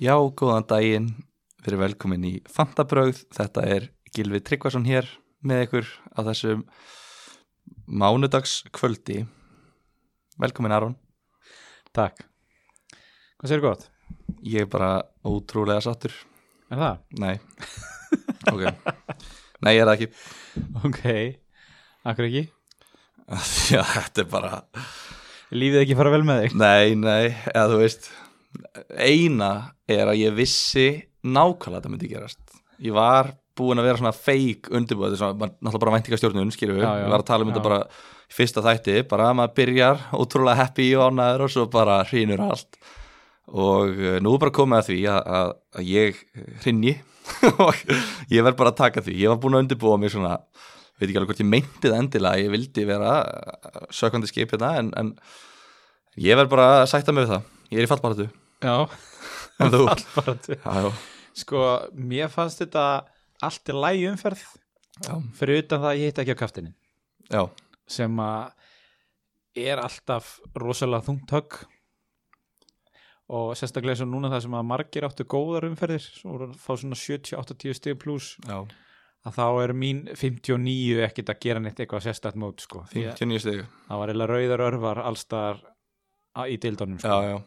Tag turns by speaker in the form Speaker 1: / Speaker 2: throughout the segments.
Speaker 1: Já, góðan daginn, við erum velkomin í Fantabröð, þetta er Gilvi Tryggvason hér með ykkur á þessum mánudagskvöldi. Velkomin Aron,
Speaker 2: Takk. Hvað séu gott?
Speaker 1: ég er bara ótrúlega sattur.
Speaker 2: Er það?
Speaker 1: Nei, ok, nei ég er það ekki.
Speaker 2: Ok. Akkur ekki?
Speaker 1: Já, þetta er bara,
Speaker 2: Lífið ekki fara vel með þig?
Speaker 1: nei, nei, eða þú veist, eina er að ég vissi nákvæmlega þetta myndi gerast. Ég var búin að vera svona feik undirbúið, þetta er svona, maður náttúrulega bara væntingarstjórnun, skiljum við,
Speaker 2: Já, já,
Speaker 1: við varum að tala um þetta
Speaker 2: já.
Speaker 1: bara í fyrsta þætti, bara að maður byrjar ótrúlega happy og ánæður og svo bara hrýnur allt og eh, nú er bara komið að því að, að, að ég eh, hrynji og ég verð bara að taka því, ég var búin að undirbúa mig svona, veit ekki alveg hvort ég meinti það endilega, ég vildi vera eh, sökandi skip hérna en, en ég verð bara að sætta mig við það, ég er í fallbaratu
Speaker 2: Já.
Speaker 1: en þú,
Speaker 2: Allt bara til.
Speaker 1: já, já,
Speaker 2: Sko, mér fannst þetta allt er lægi umferð
Speaker 1: já,
Speaker 2: fyrir utan það að ég hitt ekki á kaftinni
Speaker 1: já,
Speaker 2: sem að er alltaf rosalega þungt högg og sérstaklega eins og núna það sem að margir áttu góðar umferðir svo voru að fá svona 70-80 stig pluss
Speaker 1: já,
Speaker 2: að þá er mín 59 ekkit að gera neitt eitthvað sérstætt mót sko. Því að
Speaker 1: 59 stig
Speaker 2: það var eiginlega rauðar örvar allstar í dildónum sko.
Speaker 1: Já, já.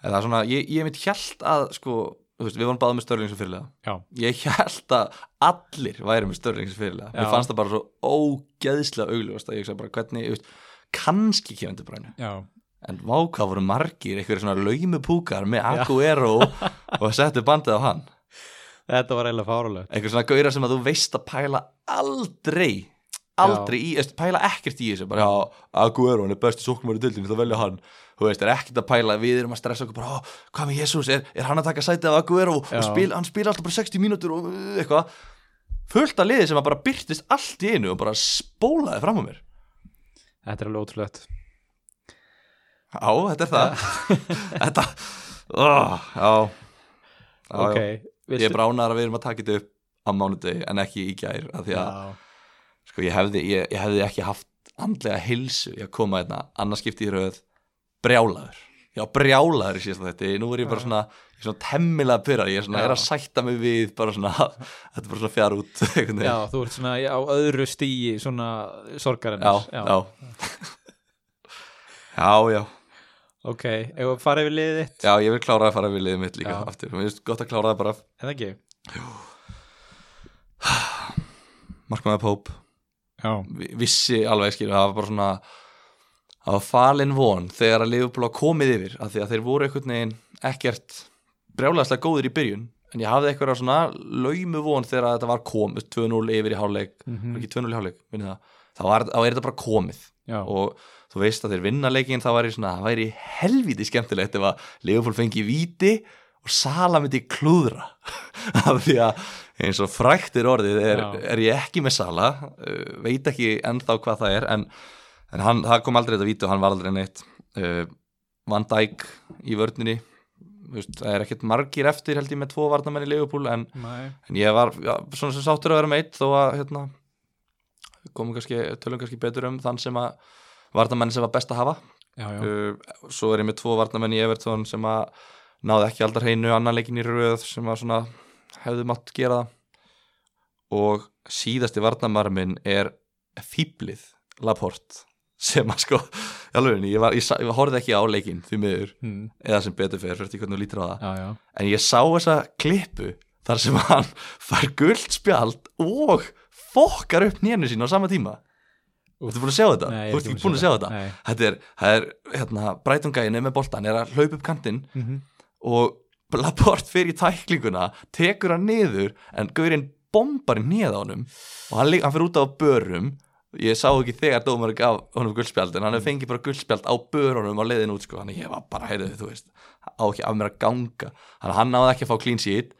Speaker 1: En Það er svona, ég, ég mitt hjælt að, sko, þú veist, við vorum báðum með störling sem fyrirlega.
Speaker 2: Já.
Speaker 1: Ég hjælt að allir væri með störling sem fyrirlega. Mér
Speaker 2: Já.
Speaker 1: fannst það bara svo ógeðslega augljóst að ég hugsaði bara hvernig, ég veist, kannski kemur til brænu.
Speaker 2: Já,
Speaker 1: En váka voru margir, einhverjir svona laumupúkar með Aguero og settu bandið á hann.
Speaker 2: þetta var eiginlega fárulegt
Speaker 1: Einhver svona gauðra sem að þú veist að pæla aldrei, aldrei í, veist, pæla ekkert í þessu. Bara, já, Aguero, hann er besti sóknumar í dildinni, þá velja hann. Þú veist, er ekkert að pæla, við erum að stressa okkur bara, "Ó, hvað með Jésús, er, er hann að taka sæti af Aguero og
Speaker 2: Já.
Speaker 1: spil, hann spila alltaf bara 60 mínútur og uh, eitthvað. Fullt að liði sem að bara byrtist allt í einu og bara spólaði fram á mér.
Speaker 2: Þetta er alveg ótrúlegt
Speaker 1: Já, þetta er það. þetta, oh, já. Já,
Speaker 2: Ok,
Speaker 1: já. Ég er bara ánægður að við erum að taka þetta upp á mánudegi en ekki í gær, af því að
Speaker 2: Já,
Speaker 1: sko ég hefði, ég, ég hefði ekki haft andlega hilsu í að koma hérna annarskipti í rauð brjálaður já brjálaður í síðast þetta nú er ég bara
Speaker 2: Já.
Speaker 1: svona, ég er svona temmilega pyrrar ég er, svona,
Speaker 2: Já.
Speaker 1: er að sætta mig við bara svona þetta er bara svona fjár út einhvern
Speaker 2: já,
Speaker 1: veginn.
Speaker 2: þú ert svona á öðru stíi svona
Speaker 1: já,
Speaker 2: sorgarinnar
Speaker 1: já já, já,
Speaker 2: Ok, ef við farið við liðið þitt
Speaker 1: já, ég vil klára að fara við liðið mitt líka
Speaker 2: Já.
Speaker 1: aftur, mér finnst gott að klára það bara
Speaker 2: En það ekki?
Speaker 1: markmaður Póp,
Speaker 2: Já,
Speaker 1: Vi- vissi alveg skilur, það var bara svona það var falin von þegar að Liverpool var komið yfir af því að þeir voru einhvern veginn ekkert brjálæðslega góðir í byrjun en ég hafði eitthvað svona laumu von þegar að þetta var komið 2-0 yfir í hálfleik mm.
Speaker 2: Mhm.
Speaker 1: ekki 2-0 í hálfleik, minni það þá, var, þá er þetta bara komið
Speaker 2: já,
Speaker 1: og þú veist að þeir vinna leikinn þá væri svona, það væri helviti skemmtilegt ef að Leopold fengi víti og Sala myndi klúðra af því að eins og frækt er orðið er,
Speaker 2: Já.
Speaker 1: er ég ekki með Sala uh, veit ekki ennþá hvað það er en, en hann, það kom aldrei þetta víti og hann var aldrei neitt uh, Van Dijk í vörninni þú veist, það er ekkert margir eftir held ég með tvo varnamenn í Leopold en
Speaker 2: næ
Speaker 1: en ég var já, svona sem sáttur að vera meitt þó að hérna, komum kannski, tölum kannski betur um þann sem að varnamenn sem var best að hafa
Speaker 2: Já, já,
Speaker 1: uh, svo er ég með tvo varnamenn í Everton sem að náði ekki aldar hreinu annan leikin í röð sem að svona hefðu mátt gera það og síðasti varnamenn minn er fýblið Laporte sem að sko, í alveg, ég, var, ég, sa- ég horfði ekki á leikin því miður,
Speaker 2: hm.
Speaker 1: eða sem betur fer, fyrir eftir hvernig þú lítur á það
Speaker 2: já, já
Speaker 1: en ég sá þessa klippu þar sem hann fær guld spjald og fokkar upp nénu sín á sama tíma Þú
Speaker 2: Úff.
Speaker 1: ert búin að sjá þetta?
Speaker 2: Nei, ég
Speaker 1: Þú ert ekki búin að sjá þetta?
Speaker 2: Nei
Speaker 1: Þetta er, það er hérna, brætungæðinu með boltan er að hlaupa upp kantinn
Speaker 2: Mhm.
Speaker 1: og Laport fyrir í tæklinguna tekur hann niður en gaurinn bombar neð á honum og hann, ligg- hann fyrir út á börum ég sá ekki þegar dómar gaf honum guldspjald en hann hefur fengið bara guldspjald á börunum á leiðin út sko, þannig ég var bara, heyrðu þú veist á ekki af mér að ganga þannig hann náði ekki að fá clean sheet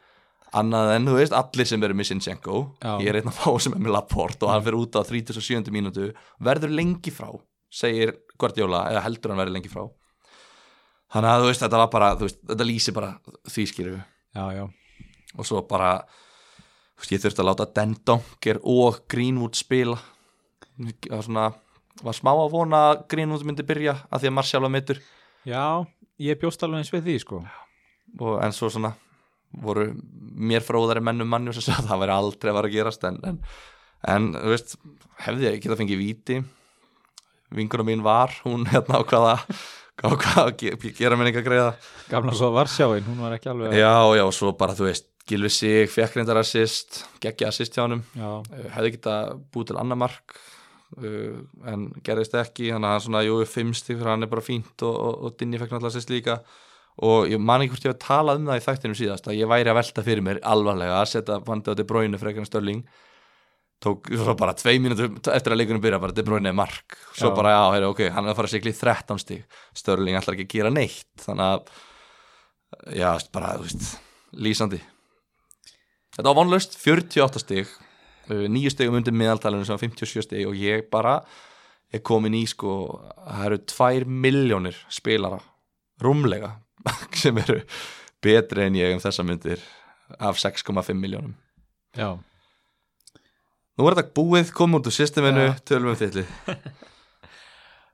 Speaker 1: annað en þú veist, allir sem eru með Sinchenko
Speaker 2: Já.
Speaker 1: ég er einn af fá sem er með Laport og hann fyrir út á 37. mínútu verður lengi frá, segir Guardiola eða heldur hann verður lengi frá þannig að þú veist, þetta var bara, þú veist, þetta lýsi bara því skýrðu
Speaker 2: Já, já,
Speaker 1: og svo bara þú veist, ég þurfti að láta Dendonger og Greenwood spila það var svona var smá að vona að Greenwood myndi byrja að því að Marcial var mittur
Speaker 2: já Ég bjóst alveg eins við því sko
Speaker 1: og, en svo svona voru mér fróðari mennum mannjum sem sagði að það væri aldrei að vera að gerast en, en, en þú veist, hefði ég geta fengið víti vingunum mín var, hún hérna á hvaða á hvaða að ge- gera minninga greiða
Speaker 2: Gamla svo Varsjáin, hún var ekki alveg
Speaker 1: já, já, og svo bara þú veist Gilvi sig, fekk reyndar assist geggja assist hjá honum
Speaker 2: Já,
Speaker 1: Eh, hefði geta búið til annar mark uh, en gerðist ekki þannig að hann svona, jú, fimmstig fyrir hann er bara fínt og, og, og Dinni fekk náttúrulega sérst líka og ég man ekki hvort ég hef talað um það í þættinum síðast að ég væri að velta fyrir mér alvarlega að setja vandi á De Bruyne frekar en Störling tók svo bara tvei mínútur eftir að leikunum byrja bara De Bruyne er mark svo
Speaker 2: Já.
Speaker 1: bara já, heyr, ok, hann er að fara að sigla í 13 stig Störling ætlar ekki að gera neitt þannig að já, bara, þú veist, lýsandi Þetta var vonlaust, 48 stig uh, nýju stigum undir miðaltalinu sem var 57 stig og ég bara er komin í sko, það eru 2 miljónir spilara rúmlega sem eru betri en ég um þessa myndir af 6,5 miljónum.
Speaker 2: já,
Speaker 1: Nú er þetta búið, komum út úr systeminu,
Speaker 2: Já.
Speaker 1: tölum um þittli.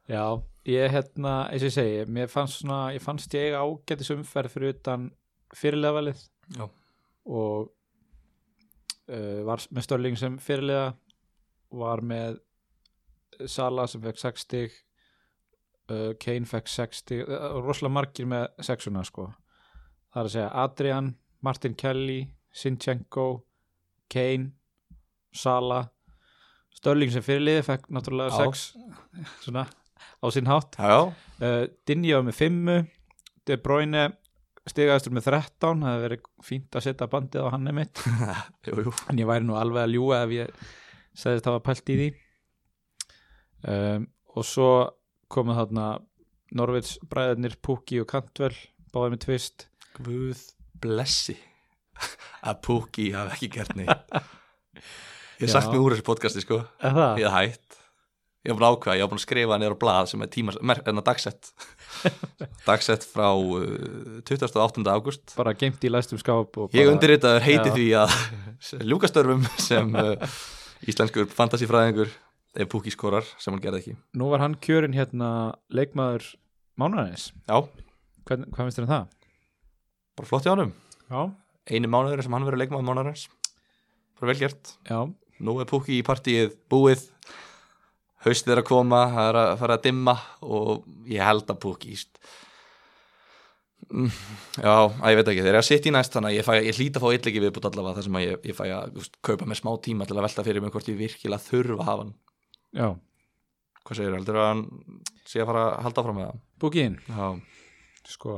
Speaker 2: já Ég hérna, eins og ég segi, mér fannst svona ég fannst ég ágætis umferð fyrir utan fyrirlega valið
Speaker 1: Já.
Speaker 2: og uh, var með Störling sem fyrirlega var með Sala sem fekk 6 stig uh, Kane fekk 6 stig uh, rosalega margir með 6una sko það er að segja Adrian, Martin Kelly Sinchenko, Kane Sala Störling sem fyrirliði fekk náttúrulega
Speaker 1: Já.
Speaker 2: 6 svona á sinn hátt
Speaker 1: Já, já,
Speaker 2: uh, Dinja var með 5 De Bruyne stigaðistur með 13 það hefði verið fínt að setja bandið á hann einmitt
Speaker 1: jú, jú.
Speaker 2: en ég væri nú alveg að ljúga ef ég segðist hafa pælt í því um, og svo komuð þarna Norvits bræðurnir Pukki og Kantvel báðið með tvist
Speaker 1: Guð blessi að Pukki hafi ekki gert neitt. Ég
Speaker 2: Já.
Speaker 1: sagt mér úr þessu podcasti sko.
Speaker 2: Eða?
Speaker 1: ég hef hætt ég hef búin að ákveða, ég hef búin að skrifa niður á blað sem er tíma, mer, enna dagsett dagsett frá uh, 28. ágúst
Speaker 2: bara geimt í læstum skáp og
Speaker 1: ég
Speaker 2: bara-
Speaker 1: undirritaður heiti
Speaker 2: Já.
Speaker 1: því að ljúkastörfum sem uh, íslenskur fantasífræðingur ef Pukki skorar sem hann gerði ekki
Speaker 2: nú var hann kjörinn hérna leikmaður mánuðanins
Speaker 1: já,
Speaker 2: hvað, hvað finnst þér um það?
Speaker 1: bara flott hjá honum
Speaker 2: Já,
Speaker 1: einu mánuður sem hann verið leikmaður mánuðurins bara vel gert
Speaker 2: já,
Speaker 1: nú er Pukki í partíið búið haustið er að koma, það er að fara að dimma og ég held að Pukki íst Mm, já, að ég veit ekki, þeir eru að sitja í næst þannig að ég, fæ, ég hlýta að fá illegi viðbútt allavega þar sem að ég, ég fæ að þú veist, kaupa mér smá tíma til að velta fyrir mig hvort ég virkilega þurfa að hafa hann
Speaker 2: já
Speaker 1: hvað segir, heldur að hann sé að fara að halda fram með það
Speaker 2: Búkiðinn
Speaker 1: já,
Speaker 2: sko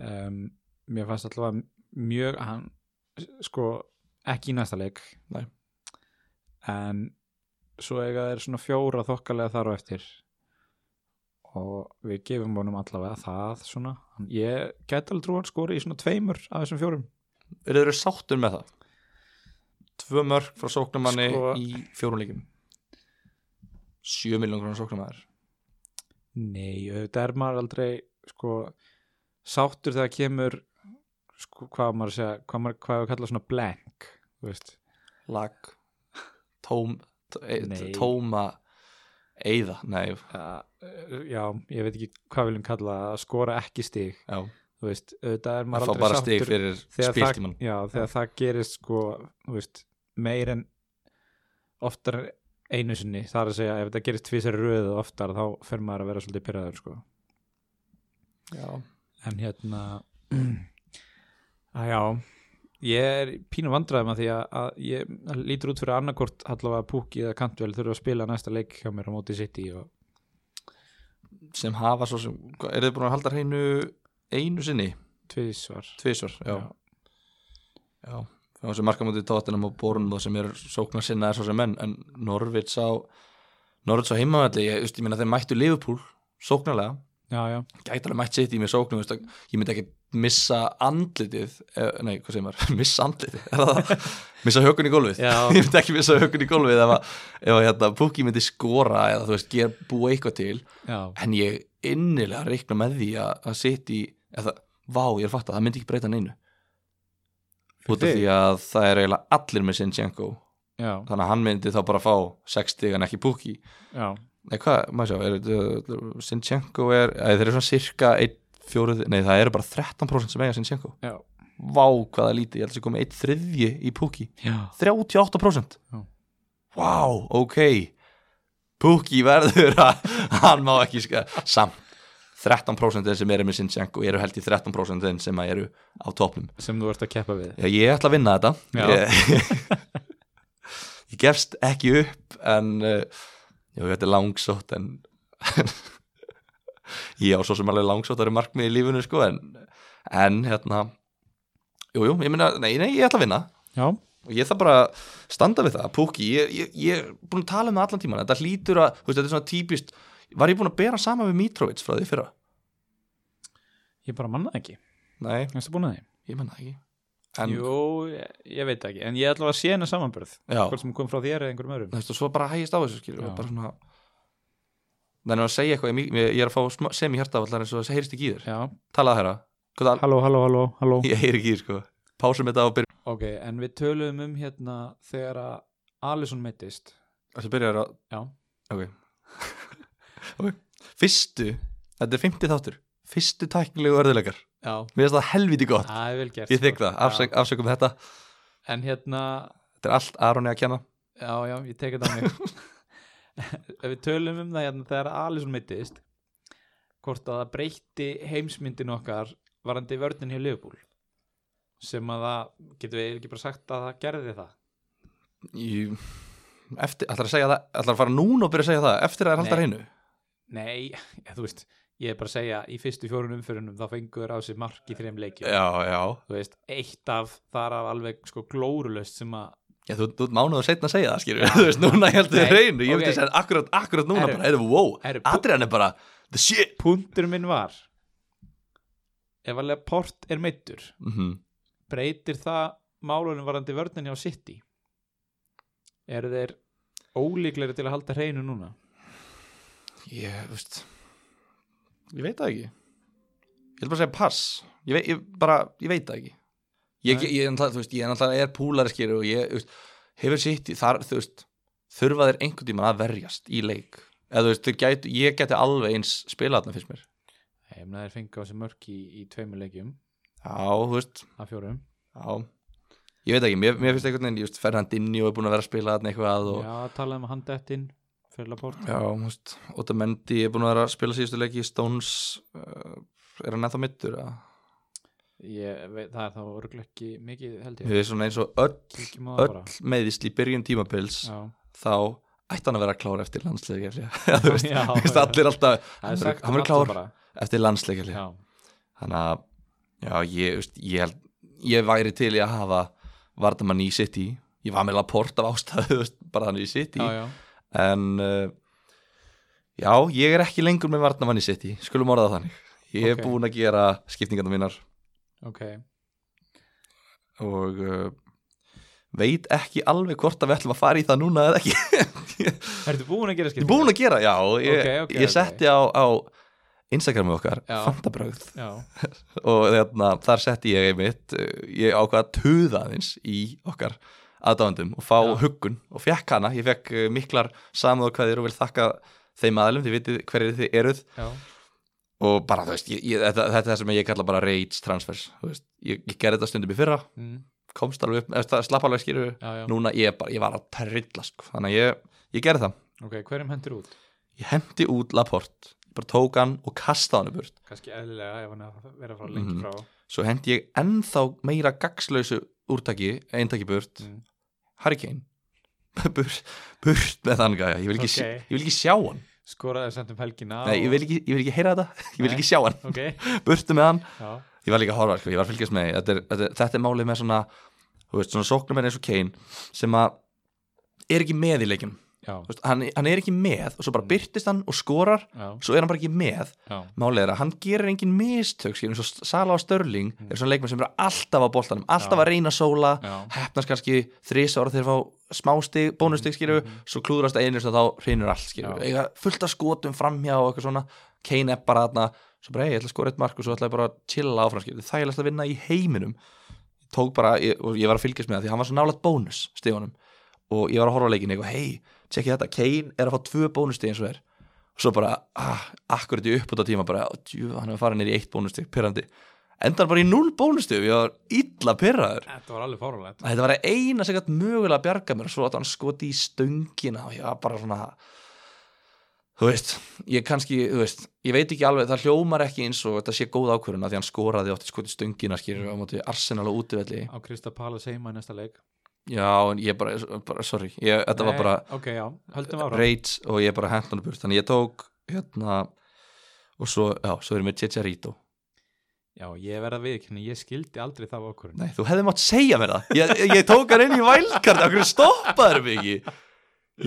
Speaker 2: um, mér fannst allavega mjög hann, sko ekki í næsta leik
Speaker 1: Nei.
Speaker 2: en svo eiga þeir svona fjóra þokkalega þar og eftir og við gefum honum allavega það svona Hann- ég gæti alveg trú hann skori í svona tveimur af þessum fjórum
Speaker 1: eru þeir sáttur með það tvö mörg frá sóknumanni
Speaker 2: Sko-
Speaker 1: í fjórunleikum 7 miljón krónar sóknumæður
Speaker 2: nei, auðvitað er maður aldrei sko sáttur þegar kemur sko, hvað á maður að segja, hvað maður hvað við kalla svona blank þú veist
Speaker 1: lag tóm, t- e-
Speaker 2: Nei.
Speaker 1: tóma eyða, nei
Speaker 2: að, Eh, já, ég veit ekki hvað viljum kalla það, að skora ekki stig
Speaker 1: já,
Speaker 2: þú veist, auðvitað er
Speaker 1: það
Speaker 2: maður
Speaker 1: fá
Speaker 2: aldrei
Speaker 1: bara
Speaker 2: sáttur
Speaker 1: stig fyrir
Speaker 2: þegar, það,
Speaker 1: spiltíman
Speaker 2: já, þegar það gerist sko, þú veist, meir en oftar en einu sinni það er að segja, ef þetta gerist tvisar röðu oftar þá fer maður að vera svolítið pyrraður sko.
Speaker 1: já.
Speaker 2: en hérna að já ég er pínu vandræðum að því að, að ég það lítur út fyrir að annarkort allavega Pukki eða Kantvel þurfa að spila næsta leik hjá mér á móti sitt í og
Speaker 1: sem hafa svo sem, hva- eru þið búin að halda hreinu einu sinni,
Speaker 2: tvisvar
Speaker 1: tvisvar já,
Speaker 2: Já.
Speaker 1: já. þá sem markamóti tóttinum og borunum og sem eru sóknar sinna er svo sem menn, en Norvits á Norvits á heimavalli, ég, þú veist, ég meina þeir mættu Liverpool, sóknarlega
Speaker 2: já, já,
Speaker 1: gæti alveg mætt sitt í mér sóknum veist, að- ég myndi ekki missa andlitið eh, nei, hvað segir maður, missa andlitið er það það? missa hökun í gólfið
Speaker 2: Já.
Speaker 1: ég myndi ekki missa hökun í gólfið ef, að, ef að, hérna, Pukki myndi skora eða þú veist, gera búa eitthvað til
Speaker 2: já,
Speaker 1: en ég innilega reikna með því að, að sitt í eða, vá, ég er að fatta, það myndi ekki breyta neinu út af
Speaker 2: þig?
Speaker 1: því að það er eiginlega allir með Sinchenko
Speaker 2: já,
Speaker 1: þannig að hann myndi þá bara fá 60 en ekki Pukki
Speaker 2: já.
Speaker 1: Nei, hvað, maður sjá, er, uh, Sinchenko er, æ, þeir eru svona cirka 1 fjóruð, nei það eru bara 13% sem eiga Sinchenko
Speaker 2: Já.
Speaker 1: Vá hvaða lítið, ég held að sé komið eitt þriðji í Pukki
Speaker 2: Já.
Speaker 1: 38%
Speaker 2: Já.
Speaker 1: Vá, ok Pukki verður að hann má ekki ska, samt 13% sem eru með Sinchenko eru held í 13% sem að eru á topnum
Speaker 2: sem þú ert að keppa við
Speaker 1: Já, ég ætla að vinna þetta
Speaker 2: Já.
Speaker 1: ég, ég gefst ekki upp en eh, já, þetta er langsótt en ég á svo sem alveg langsótt það eru markmið í lífinu sko en, en hérna jú, jú, ég meina, nei, nei, ég ætla að vinna
Speaker 2: Já,
Speaker 1: og ég þarf bara að standa við það Pukki, ég, ég, ég er búin að tala um það allan tíman þetta hlýtur að, þú veist, þetta er svona típist var ég búin að bera sama við Mitrovic frá því fyrra?
Speaker 2: ég bara manna það ekki
Speaker 1: Nei,
Speaker 2: Erstu búin að því?
Speaker 1: ég menna ekki en,
Speaker 2: Jú, ég, ég veit það ekki, en ég ætla að sé hennar samanbörð
Speaker 1: já,
Speaker 2: hvort sem kom frá þér eða einhverjum öðrum
Speaker 1: þú veist, og svo bara hægist á þessu skilur
Speaker 2: Já.
Speaker 1: og bara svona þannig að segja eitthvað, ég, ég er að fá smá- sem í hjartafallar eins og það heyrist ekki í þér
Speaker 2: Já,
Speaker 1: talaðu herra, hvað það,
Speaker 2: halló, halló, halló, halló
Speaker 1: ég heyri ekki í þér sko pásum þetta og byrjum,
Speaker 2: Ok, en við töluðum um hérna þegar að Alisson meittist
Speaker 1: þessi byrjar að
Speaker 2: Já,
Speaker 1: fyrstu, þetta er 50 þáttur fyrstu tæknilegu örðuleikar
Speaker 2: já,
Speaker 1: mér finnst það helviti gott,
Speaker 2: það er vel gert
Speaker 1: ég
Speaker 2: sko.
Speaker 1: þykk það
Speaker 2: Já.
Speaker 1: afsök, afsökum þetta,
Speaker 2: En hérna,
Speaker 1: þetta er allt Aroni að kenna
Speaker 2: já, já, ég teki þetta á mig Ef við töluðum um það hérna þegar að Alisson meittist hvort að það breytti heimsmyndin okkar varandi vörnin hjá Liverpool sem að það, getum við ekki bara sagt að það gerði það
Speaker 1: ég, eftir, ætlar að segja það ætlar að fara núna og byrja að segja það, eftir að það er haldar
Speaker 2: Nei.
Speaker 1: einu
Speaker 2: Nei, ja, þú veist, ég er bara að segja í fyrstu fjórun umfyrunum þá fengur á sig mark í þreim leikjum
Speaker 1: já, já,
Speaker 2: þú veist, eitt af þar af alveg sko glórulöst sem að
Speaker 1: Já, þú, þú mánuður setna að segja það, skilur Þú veist, núna heldur þið
Speaker 2: Nei,
Speaker 1: reynu Ég veit
Speaker 2: ok.
Speaker 1: þess að akkurat, akkurat núna
Speaker 2: Herru,
Speaker 1: bara, heyrðu, wow
Speaker 2: herru, bú-
Speaker 1: Adrian er bara, the shit
Speaker 2: puntur minn var ef að Laporte er meittur
Speaker 1: mm
Speaker 2: breytir það málunum varandi vörninni á City eru þeir ólíklegri til að halda hreinu núna
Speaker 1: Ég, þú veist Ég veit það ekki Ég vil bara segja pass Ég veit, ég, bara, ég veit það ekki Ég,
Speaker 2: Nei.
Speaker 1: ég, ég, náttúrulega, þú veist, ég er náttúrulega er púlari skilur og ég, þú veist, hefur sitt í þar, þú veist, þurfa þeir einhvern tímann að verjast í leik eða þú veist, þeir gætu, ég gæti alveg eins spilaðna fyrst mér
Speaker 2: ef þeir fengi á sig mörk í, í tveimur leikjum
Speaker 1: Já, þú veist,
Speaker 2: af fjórum
Speaker 1: já Ég veit ekki, mér, mér finnst einhvern veginn, ég veist, Fernandinho er búin að vera að spila þarna eitthvað og
Speaker 2: já, talaðum að handa eftir fyrir Laporte
Speaker 1: Já, þú veist, Óta Mendi er búin að vera að spila síðustu leiki í Stones uh, er hann ennþá mittur eða?
Speaker 2: ég, veit, það er þá örglega ekki mikið held ég
Speaker 1: Við erum svona eins og öll,
Speaker 2: Kíkjum á það bara.
Speaker 1: öll meðisli í byrjun tímabils
Speaker 2: Já,
Speaker 1: þá ætti hann að vera klár eftir landsleik þú veist,
Speaker 2: Já,
Speaker 1: þú veist
Speaker 2: já.
Speaker 1: allir alltaf
Speaker 2: það er
Speaker 1: hann verður-
Speaker 2: sagt
Speaker 1: hann
Speaker 2: um
Speaker 1: verður
Speaker 2: alla
Speaker 1: klár
Speaker 2: bara.
Speaker 1: eftir landsleik
Speaker 2: Já,
Speaker 1: þannig að já, ég, þú veist, ég, held- ég væri til í að hafa Vardamann í City ég var með Laporte af ástæðu þú veist, bara hann í City
Speaker 2: já, já,
Speaker 1: en uh, já, ég er ekki lengur með varnamann í City, skulum orða það þannig ég er
Speaker 2: Ok.
Speaker 1: búin að gera skiptingarna mínar
Speaker 2: ok
Speaker 1: og uh, veit ekki alveg hvort að við ætlum að fara í það núna eða ekki
Speaker 2: Ertu búin að gera
Speaker 1: ég
Speaker 2: skipt?
Speaker 1: er búin að gera, já ég,
Speaker 2: Ok, ok,
Speaker 1: ég
Speaker 2: ok.
Speaker 1: setti á, á Instagramu okkar,
Speaker 2: Já.
Speaker 1: fantabröð
Speaker 2: Já,
Speaker 1: og þarna, þar setti ég einmitt uh, ég ákvað að tuða aðeins í okkar aðdáðandum og fá
Speaker 2: Já.
Speaker 1: huggun og fekk hana, ég fekk uh, miklar samúðkvæðir og vil þakka þeim aðalum, þið vitið hverju þið eruð
Speaker 2: já,
Speaker 1: og bara þú veist, ég, ég, þetta, þetta er það sem ég kalla bara rage transfers, þú veist, ég, ég gerði þetta stundum í fyrra,
Speaker 2: mm,
Speaker 1: komst alveg upp, eða slapp alveg skýrðu,
Speaker 2: já, já.
Speaker 1: núna ég bara, ég var að trilla, sko, þannig að ég, ég gerði það,
Speaker 2: Ok, hverjum hendur út?
Speaker 1: ég hendi út Laport, bara tók hann og kasta hann upp burt,
Speaker 2: Kannski eðlilega ef hann er að vera frá lengi
Speaker 1: Mhm.
Speaker 2: frá
Speaker 1: svo hendi ég ennþá meira gagslausu úrtaki, eintaki burt,
Speaker 2: Mm.
Speaker 1: Harry Kane, burt, burt með þann gæja, ég vil ekki,
Speaker 2: Ok.
Speaker 1: okay. ég vil ekki sjá hann,
Speaker 2: Skoraði samt um helgina
Speaker 1: nei, ég vil ekki, ég vil ekki heyra þetta, ég vil ekki sjá hann,
Speaker 2: og... Ok,
Speaker 1: burtu með hann,
Speaker 2: já,
Speaker 1: ég var líka að horfa, sko, ég var að fylgjast með því. þetta er, þetta, er, þetta er málið með svona þú veist, svona sóknumenn eins og Kane sem að er ekki með í leikjum
Speaker 2: já,
Speaker 1: Þú veist, hann, hann er ekki með og svo bara byrtist hann og skorar
Speaker 2: já,
Speaker 1: svo er hann bara ekki með,
Speaker 2: já
Speaker 1: málið er að hann gerir engin mistök, skilur eins og Sala og Störling
Speaker 2: Mm.
Speaker 1: er svona leikmenn sem er alltaf á boltanum alltaf
Speaker 2: Já.
Speaker 1: að reyna að sóla,
Speaker 2: Já,
Speaker 1: hefnast kannski þrís ára þegar fá smástig, bónustig skilur
Speaker 2: Mhm.
Speaker 1: svo klúðrast einu og þá hreinur allt skilur
Speaker 2: Já.
Speaker 1: eiga fullt af skotum framhjá og eitthvað svona Kane er bara þarna, svo bara hey, ég ætla að skora eitt mark og svo ætla ég bara að chilla áfram skilur það ég ætla að vinna í heiminum ég tók bara, ég, og ég var að fylgjast með það því hann var svo nálaðt bónus stigunum og ég var að horfa á leikinu og hei, tjekki þetta, Kane er að fá tvö bónustig eins og er svo bara, ah, akkurat í uppbúta tíma bara, ó, djú, hann hefur farið nýr í eitt bónustig pyrrandi, endar bara í null bónustig ég var illa pyrraður
Speaker 2: Þetta var alveg fárulegt
Speaker 1: þetta var eina sem gætt mögulega að bjarga mér svo að hann skoti í stöngina og ég var bara svona þú veist, ég kannski, þú veist ég veit ekki alveg, það hljómar ekki eins og þetta sé góð ákvörðun að því hann skoraði átti skoti í stöngina skýrur á móti Arsenal á útivelli
Speaker 2: á Krista Palas heima í næsta leik
Speaker 1: já, en ég bara, bara sorry ég, þetta var
Speaker 2: Nei,
Speaker 1: bara
Speaker 2: Ok, já, höldum ára
Speaker 1: reyts og ég bara hentan burt þannig ég tók, hérna og svo, já, svo erum við Chicharito
Speaker 2: Já, ég verða við ekki, ég skildi aldrei það á okkur
Speaker 1: Nei, þú hefði mátt segja mér það Ég, ég tók hann inn í vælkart Akkur stoppaður mig ekki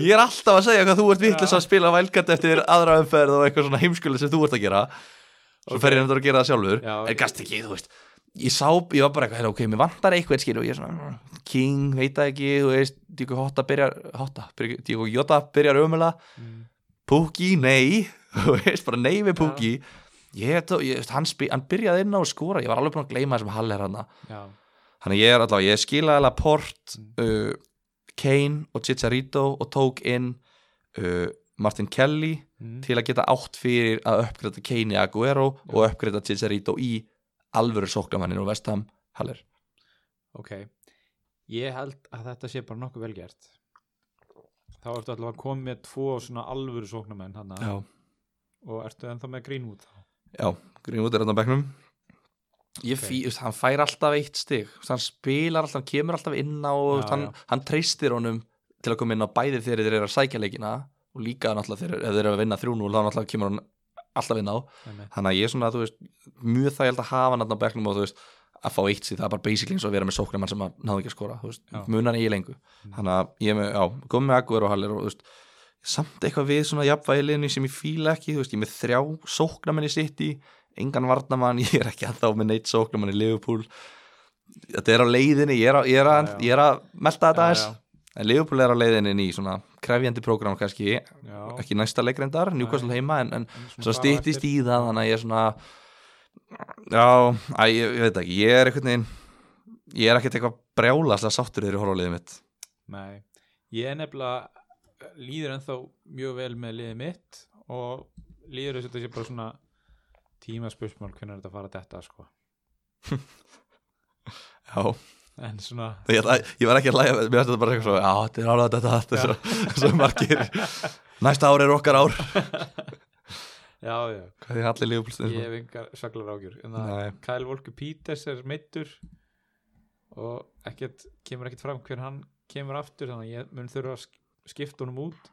Speaker 1: Ég er alltaf að segja hvað þú ert vitlis að spila vælkart eftir aðra umferð og eitthvað svona heimskuleg sem þú ert að gera Svo
Speaker 2: Ok.
Speaker 1: fer ég nefndur að gera það sjálfur
Speaker 2: Já,
Speaker 1: En gast ekki, þú veist Ég sá, ég var bara eitthvað, "Heyrðu, ok, mér vantar eitthvað skil og ég er svona, mm, King, veit það ekki þú veist, Díko Hotta byrjar Hotta, byrjar- Díko Jota byrjar ömulega
Speaker 2: Mm.
Speaker 1: Pukki, nei þú veist, bara nei við Pukki ég, tó- ég, þú veist, hann, spi- hann byrjaði inn á að skora ég var alveg búin að gleyma þessum Haller hann
Speaker 2: Já,
Speaker 1: Þannig að ég er allavega, ég skilaði alveg Port, uh, Kane og Chicharito og tók inn uh, Martin Kelly
Speaker 2: mm.
Speaker 1: til að geta átt fyrir að uppgreita Kane í Aguero og uppgreita Chicharito í alvöru sóklamannin og vestam Haller.
Speaker 2: ok Ég held að þetta sé bara nokkuð vel gert Þá ertu allavega komið með tvo svona alvöru sóknarmenn hana og ertu ennþá með Greenwood þá
Speaker 1: Já, Greenwood er hann á bekknum. Ég
Speaker 2: Ok.
Speaker 1: fý, okay. hann fær alltaf eitt stig, þú veist, hann spilar alltaf, hann kemur alltaf inn á, þú veist,
Speaker 2: Já,
Speaker 1: hann, hann treystir honum til að koma inn á bæði þegar þeir eru að sækja leikina og líka náttúrulega þegar ef þeir eru að vinna 3-0 þá náttúrulega kemur hann alltaf inn á.
Speaker 2: Einmitt.
Speaker 1: þannig að ég er svona, þú veist, mjög þægild að hafa hann þarna á bekknum og þú veist, að fá eitt síðan það er bara basically eins og að vera með sóknumann sem að náðu ekki að skora, þú veist,
Speaker 2: Já. Mm.
Speaker 1: munar í lengu þannig að ég er með, já, komið með Aguero og Haller og þú veist, samt eitthvað við svona jafnvægileginni sem ég fíla ekki, þú veist, ég er með þrjá sóknamenn í sitt í, engan varnamann ég er ekki að þá með neitt sóknamann í Liverpool þetta er á leiðinni ég er, á, ég er, að,
Speaker 2: Já, já.
Speaker 1: ég er að melta þetta
Speaker 2: Já,
Speaker 1: aðeins en Liverpool er á leiðinni inn í svona krefjandi prógram kannski,
Speaker 2: Já,
Speaker 1: ekki næsta leikrendar, Newcastle heima en, en
Speaker 2: en svona
Speaker 1: svo
Speaker 2: bara
Speaker 1: stýttist
Speaker 2: eftir-
Speaker 1: í það þannig að ég er svona já, æ, ég, ég veit ekki ég er einhvern veginn ég er ekkert eitthvað brjálaslega sáttur þeirri horfulegið mitt
Speaker 2: Nei, ég er nefnilega líður ennþá mjög vel með liðið mitt og líður þess að þetta sé bara svona tímaspursmál hvernig þetta fara þetta sko.
Speaker 1: já,
Speaker 2: en svona
Speaker 1: ég, ég var ekki að læja mér finnst þetta bara eitthvað svo, já, þetta er alveg þetta, þetta er svo, svo margir næsta ár er okkar ár
Speaker 2: já, já,
Speaker 1: hvað er allir
Speaker 2: ég
Speaker 1: liðbúlstin
Speaker 2: hef engar svaklar ágjur en það
Speaker 1: Nei,
Speaker 2: Kyle Walker Peters er meittur og ekkert, kemur ekkert fram hver hann kemur aftur þannig að ég mun þurfa að sk- skipta honum út